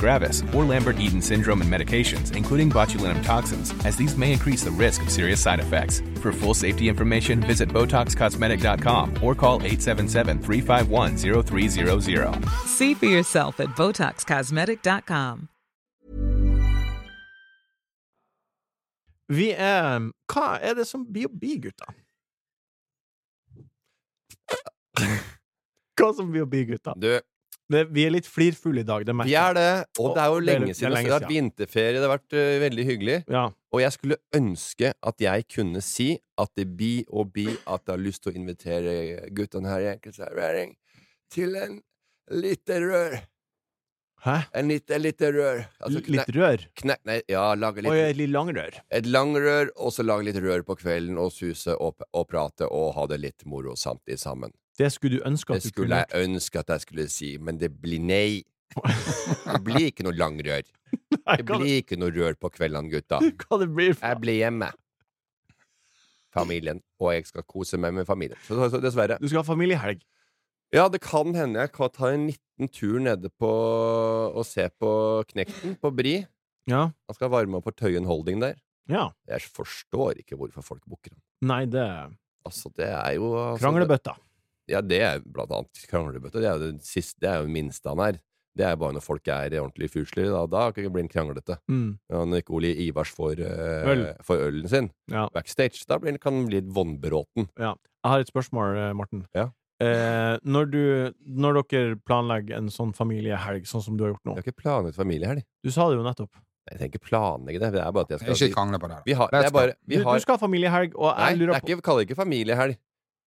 [SPEAKER 5] gravis, or Lambert-Eaton syndrome and medications, including botulinum toxins, as these may increase the risk of serious side effects. For full safety information, visit BotoxCosmetic.com or call 877-351-0300.
[SPEAKER 4] See for yourself at BotoxCosmetic.com.
[SPEAKER 1] Vi er Hva er det som blir å bli, gutta? Hva som blir å bli, gutta?
[SPEAKER 2] Du,
[SPEAKER 1] Det, vi er litt flirfulle i dag, det merker
[SPEAKER 2] vi er det, og det er jo
[SPEAKER 1] Å, det er- det
[SPEAKER 2] lenge
[SPEAKER 1] er lenge
[SPEAKER 2] siden. så Det har vært vinterferie, det har vært eh, veldig hyggelig.
[SPEAKER 1] Ja.
[SPEAKER 2] Og jeg skulle ønske at jeg kunne si at det blir og blir at jeg har lyst til å invitere guttene her i enkeltservering til en lite rør.
[SPEAKER 1] Hæ?
[SPEAKER 2] En lite, lite rør. Altså,
[SPEAKER 1] L- litt rør?
[SPEAKER 2] knek- knek- nei, ja, lage
[SPEAKER 1] Og
[SPEAKER 2] litt
[SPEAKER 1] et litt langrør?
[SPEAKER 2] et langrør, og så lage litt rør på kvelden, og suse og, p- og prate og ha det litt moro samtidig sammen.
[SPEAKER 1] Det skulle du ønske
[SPEAKER 2] Det
[SPEAKER 1] at du
[SPEAKER 2] skulle
[SPEAKER 1] kunne
[SPEAKER 2] jeg ønske at jeg skulle si, men det blir nei. Det blir ikke noe langrør.
[SPEAKER 1] Nei,
[SPEAKER 2] Det
[SPEAKER 1] hva det-
[SPEAKER 2] blir ikke noe rør på kveldene, gutta.
[SPEAKER 1] Hva det blir for
[SPEAKER 2] Jeg blir hjemme. Familien. Og jeg skal kose meg med familien. Så, så, så dessverre.
[SPEAKER 1] Du skal ha familiehelg.
[SPEAKER 2] Ja, det kan hende jeg kan ta en liten tur nede på og se på Knekten på Bri.
[SPEAKER 1] Ja.
[SPEAKER 2] Han skal varme opp for Tøyen Holding der.
[SPEAKER 1] ja.
[SPEAKER 2] Jeg forstår ikke hvorfor folk booker han.
[SPEAKER 1] Nei, det er
[SPEAKER 2] Altså, det er jo altså,
[SPEAKER 1] Kranglebøtta.
[SPEAKER 2] det- Ja, det er blant annet kranglebøtte. Det er jo det, siste, det er jo det minste han er. Det er bare når folk er ordentlig fuslige. Da, da kan det bli en kranglete.
[SPEAKER 1] Mm.
[SPEAKER 2] Ja, Når ikke Ole Ivars får, eh,
[SPEAKER 1] Øl.
[SPEAKER 2] får ølen sin
[SPEAKER 1] Ja.
[SPEAKER 2] backstage, da blir, kan han bli litt vonbråten.
[SPEAKER 1] Jeg har et spørsmål, eh, Morten.
[SPEAKER 2] Ja.
[SPEAKER 1] Eh, når, du, når dere planlegger en sånn familiehelg, sånn som du har gjort nå
[SPEAKER 2] Jeg har ikke planlagt familiehelg.
[SPEAKER 1] Du sa det jo nettopp.
[SPEAKER 2] Jeg trenger ikke planlegge det. Det er bare at jeg skal
[SPEAKER 3] Ikke krangle på det. da.
[SPEAKER 2] vi har, det er bare, vi
[SPEAKER 1] Du,
[SPEAKER 2] har,
[SPEAKER 1] du skal ha familiehelg, og
[SPEAKER 2] Nei,
[SPEAKER 1] jeg
[SPEAKER 2] det
[SPEAKER 1] lurer
[SPEAKER 2] er
[SPEAKER 1] på
[SPEAKER 2] ikke, vi kaller det ikke familiehelg.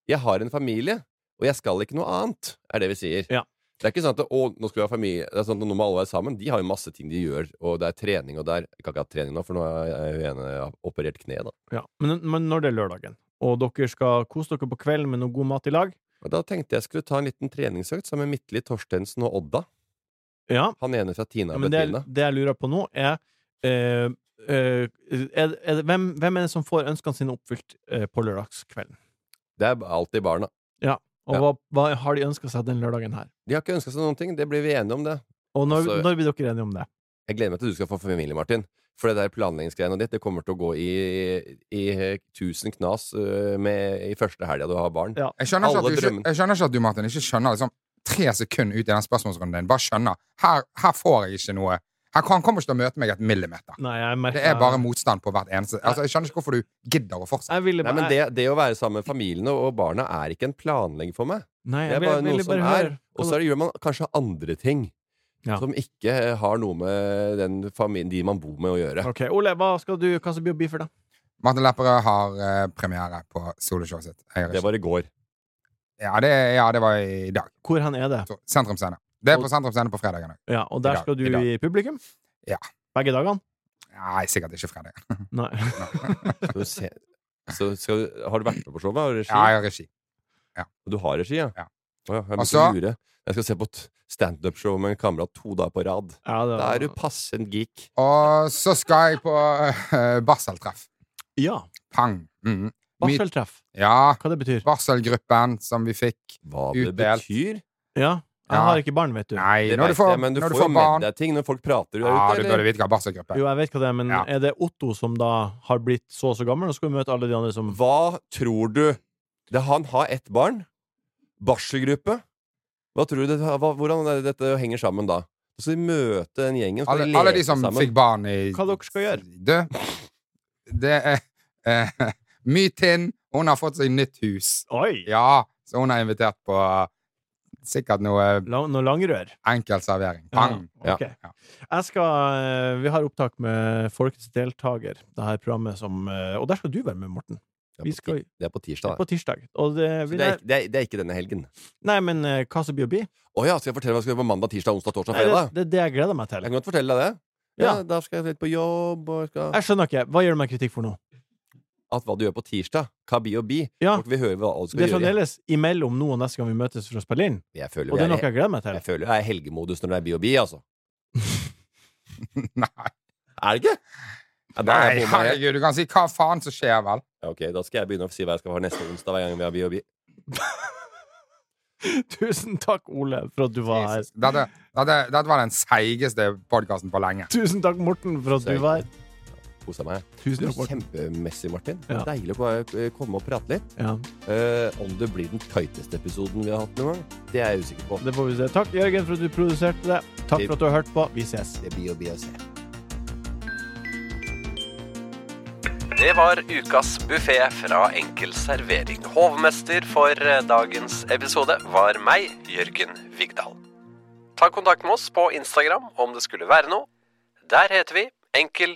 [SPEAKER 2] Jeg har en familie, og jeg skal ikke noe annet, er det vi sier.
[SPEAKER 1] Ja.
[SPEAKER 2] Det er ikke sånn at å, nå skal vi ha familie Det er sånn at nå må alle være sammen. De har jo masse ting de gjør, og det er trening, og det er Jeg kan ikke ha trening nå, for nå er jeg jo ene jeg har operert kneet, da.
[SPEAKER 1] ja. men, men når det er lørdagen, og dere skal kose dere på kvelden med noe god mat i lag
[SPEAKER 2] Og da tenkte jeg skulle ta en liten treningsøkt sammen med Midtli Torstensen og Odda.
[SPEAKER 1] Ja,
[SPEAKER 2] Han ene fra Tina og
[SPEAKER 1] men det,
[SPEAKER 2] Bettina.
[SPEAKER 1] det jeg lurer på nå, er eh, eh, er, er det, hvem, hvem er det som får ønskene sine oppfylt eh, på lørdagskvelden?
[SPEAKER 2] Det er alltid barna.
[SPEAKER 1] Og
[SPEAKER 2] Ja.
[SPEAKER 1] hva, hva har de ønska seg den lørdagen her?
[SPEAKER 2] De har ikke ønska seg noen ting. Det blir vi enige om, det.
[SPEAKER 1] Og når,
[SPEAKER 2] Altså-
[SPEAKER 1] når blir dere enige om det?
[SPEAKER 2] Jeg gleder meg til du skal få familie, Martin. For det der planleggingsgreiene ditt, det kommer til å gå i, i, i tusen knas øh, med, i første helga du har barn.
[SPEAKER 1] Ja.
[SPEAKER 3] Jeg skjønner,
[SPEAKER 2] Alle
[SPEAKER 3] ikke at du, ikke,
[SPEAKER 2] drømmer.
[SPEAKER 3] jeg skjønner ikke at du, Martin, ikke skjønner liksom, tre sekunder ut i den spørsmålsrunden din. Bare skjønner. Her, her får jeg ikke noe Her kan, kommer ikke til å møte meg et millimeter.
[SPEAKER 1] Nei, jeg merker
[SPEAKER 3] Det er bare motstand på hvert eneste Altså, Jeg skjønner ikke hvorfor du gidder å fortsette.
[SPEAKER 1] Jeg ville
[SPEAKER 2] Nei,
[SPEAKER 1] bare
[SPEAKER 2] men det, det å være sammen med familien og og barna er ikke en planlegging for meg.
[SPEAKER 1] Nei,
[SPEAKER 2] Det er
[SPEAKER 1] jeg
[SPEAKER 2] bare
[SPEAKER 1] ville-
[SPEAKER 2] noe
[SPEAKER 1] ville
[SPEAKER 2] som
[SPEAKER 1] bare
[SPEAKER 2] er.
[SPEAKER 1] høre.
[SPEAKER 2] Og så er det- gjør man kanskje andre ting
[SPEAKER 1] Ja.
[SPEAKER 2] som ikke har noe med den familien, de man bor med, å gjøre.
[SPEAKER 1] Ok, Ole, hva skal du Hva som blir å bli for deg?
[SPEAKER 3] Martin Lepperød har eh, premiere på soloshowet sitt. Jeg gjør
[SPEAKER 2] Det
[SPEAKER 3] ikke.
[SPEAKER 2] var i går.
[SPEAKER 3] Ja, det, ja, det var i dag.
[SPEAKER 1] Hvor hen er det?
[SPEAKER 3] Så, Sentrum Scene. Det er på Sentrum Scene på fredagen òg.
[SPEAKER 1] Ja, Og
[SPEAKER 3] I
[SPEAKER 1] der
[SPEAKER 3] dag,
[SPEAKER 1] skal du
[SPEAKER 3] i dag.
[SPEAKER 1] i publikum?
[SPEAKER 3] Ja.
[SPEAKER 1] Begge dagene?
[SPEAKER 3] Nei, sikkert ikke fredag.
[SPEAKER 2] Mm.
[SPEAKER 1] Nei.
[SPEAKER 2] Skal du se, så skal, du- har du vært med på showet? Har du regi?
[SPEAKER 3] Ja, jeg har regi.
[SPEAKER 2] Du har regi, ja?
[SPEAKER 3] Ja.
[SPEAKER 2] Å ja, jeg,
[SPEAKER 3] Og
[SPEAKER 2] måtte
[SPEAKER 3] så-
[SPEAKER 2] lure. jeg skal se på et standup-show med en kamerat to dager på rad.
[SPEAKER 1] Ja, det
[SPEAKER 2] Da
[SPEAKER 1] var-
[SPEAKER 2] er du passe en geek.
[SPEAKER 3] Og så skal jeg på eh, barseltreff.
[SPEAKER 1] Ja.
[SPEAKER 3] Pang. Mhm. Mitt-
[SPEAKER 1] Barseltreff.
[SPEAKER 3] Ja.
[SPEAKER 1] Hva det betyr?
[SPEAKER 3] Barselgruppen som vi fikk.
[SPEAKER 2] Hva det
[SPEAKER 3] Utdelt.
[SPEAKER 2] betyr?
[SPEAKER 1] Ja. Jeg
[SPEAKER 3] Ja.
[SPEAKER 1] har ikke barn, vet du.
[SPEAKER 3] Nei,
[SPEAKER 2] Det vet
[SPEAKER 3] når du får,
[SPEAKER 2] jeg, men du
[SPEAKER 3] når
[SPEAKER 2] får
[SPEAKER 3] du
[SPEAKER 2] jo
[SPEAKER 3] får
[SPEAKER 2] med
[SPEAKER 3] barn
[SPEAKER 2] deg ting når folk prater der
[SPEAKER 3] Ja,
[SPEAKER 2] ute,
[SPEAKER 3] du
[SPEAKER 2] eller?
[SPEAKER 3] burde vite hva barselgruppe
[SPEAKER 1] Jo,
[SPEAKER 3] er.
[SPEAKER 1] jeg vet hva det er, men
[SPEAKER 3] Ja.
[SPEAKER 1] er det Otto som da har blitt så og så gammel, og skal vi møte alle de andre som
[SPEAKER 2] Hva tror du? Det, han har ett barn. Barselgruppe. Hva tror du det, hva, hvordan er det dette henger sammen da? Og så møte den gjengen. skal
[SPEAKER 3] Alle,
[SPEAKER 2] leke
[SPEAKER 3] alle de som
[SPEAKER 2] sammen.
[SPEAKER 3] fikk barn i
[SPEAKER 1] Hva dere skal gjøre?
[SPEAKER 3] Du, eh, det er eh, My Tinn, hun har fått seg nytt hus.
[SPEAKER 1] Oi!
[SPEAKER 3] Ja, så hun har invitert på eh, sikkert noe eh,
[SPEAKER 1] Lang, noe langrør.
[SPEAKER 3] enkel servering. Pang!
[SPEAKER 1] Ja, ok.
[SPEAKER 3] Ja.
[SPEAKER 1] Jeg skal, eh, vi har opptak med Folkets deltaker, det her programmet som eh, Og der skal du være med, Morten.
[SPEAKER 2] Det er
[SPEAKER 1] Vi
[SPEAKER 2] på ti-
[SPEAKER 1] skal
[SPEAKER 2] Det er på tirsdag.
[SPEAKER 1] på
[SPEAKER 2] da.
[SPEAKER 1] tirsdag. Og det,
[SPEAKER 2] Så
[SPEAKER 1] vil
[SPEAKER 2] Det er,
[SPEAKER 1] jeg,
[SPEAKER 2] ikke- det, er, det er ikke denne helgen.
[SPEAKER 1] nei, men eh, hva som blir å bli?
[SPEAKER 2] Å ja, skal jeg fortelle hva jeg skal gjøre på mandag, tirsdag, onsdag, torsdag,
[SPEAKER 1] Nei, Det
[SPEAKER 2] fredag?
[SPEAKER 1] det er det jeg gleder meg
[SPEAKER 2] Jeg
[SPEAKER 1] til.
[SPEAKER 2] kan godt fortelle deg det. Ja,
[SPEAKER 1] Ja.
[SPEAKER 2] Da skal jeg litt på jobb og jeg skal
[SPEAKER 1] Jeg skjønner ikke. Hva gjør du meg kritikk for nå?
[SPEAKER 2] At hva du gjør på tirsdag, hva blir og blir.
[SPEAKER 1] Ja.
[SPEAKER 2] Folk vil høre hva alle
[SPEAKER 1] Det
[SPEAKER 2] skal
[SPEAKER 1] er
[SPEAKER 2] gjøre.
[SPEAKER 1] fremdeles imellom nå og neste gang vi møtes for å spille inn,
[SPEAKER 2] Jeg føler,
[SPEAKER 1] og det er noe
[SPEAKER 2] jeg,
[SPEAKER 1] jeg gleder meg til.
[SPEAKER 2] jeg føler jeg er i helgemodus når det er B&B, altså.
[SPEAKER 3] Nei,
[SPEAKER 2] Er det ikke? Ja, da er
[SPEAKER 3] Nei
[SPEAKER 2] jeg bomma helt.
[SPEAKER 3] herregud, du kan si hva faen som skjer, vel?
[SPEAKER 2] Ja, ok, da skal jeg begynne å si hva jeg skal ha neste onsdag hver gang vi har B&B.
[SPEAKER 1] Tusen takk, Ole, for at du var her.
[SPEAKER 3] Jesus. Dette, dette, dette var den seigeste podkasten på lenge.
[SPEAKER 1] Tusen takk, Morten, for at du var her.
[SPEAKER 2] Kosa meg.
[SPEAKER 1] Tusen
[SPEAKER 2] Du,
[SPEAKER 1] takk, Morten.
[SPEAKER 2] Kjempemessig, Martin.
[SPEAKER 1] Ja.
[SPEAKER 2] Deilig å bare, eh, komme og prate litt.
[SPEAKER 1] Ja,
[SPEAKER 2] Eh, om det blir den tighteste episoden vi har hatt noen gang, det er jeg usikker på.
[SPEAKER 1] det får vi se. Takk, Jørgen, for at du produserte det. Takk for at du har hørt på. Vi ses.
[SPEAKER 2] Det blir å bli å se.
[SPEAKER 6] Det var ukas buffé fra Enkel servering. Hovmester for eh, dagens episode var meg, Jørgen Vigdal. Ta kontakt med oss på Instagram om det skulle være noe. Der heter vi Enkel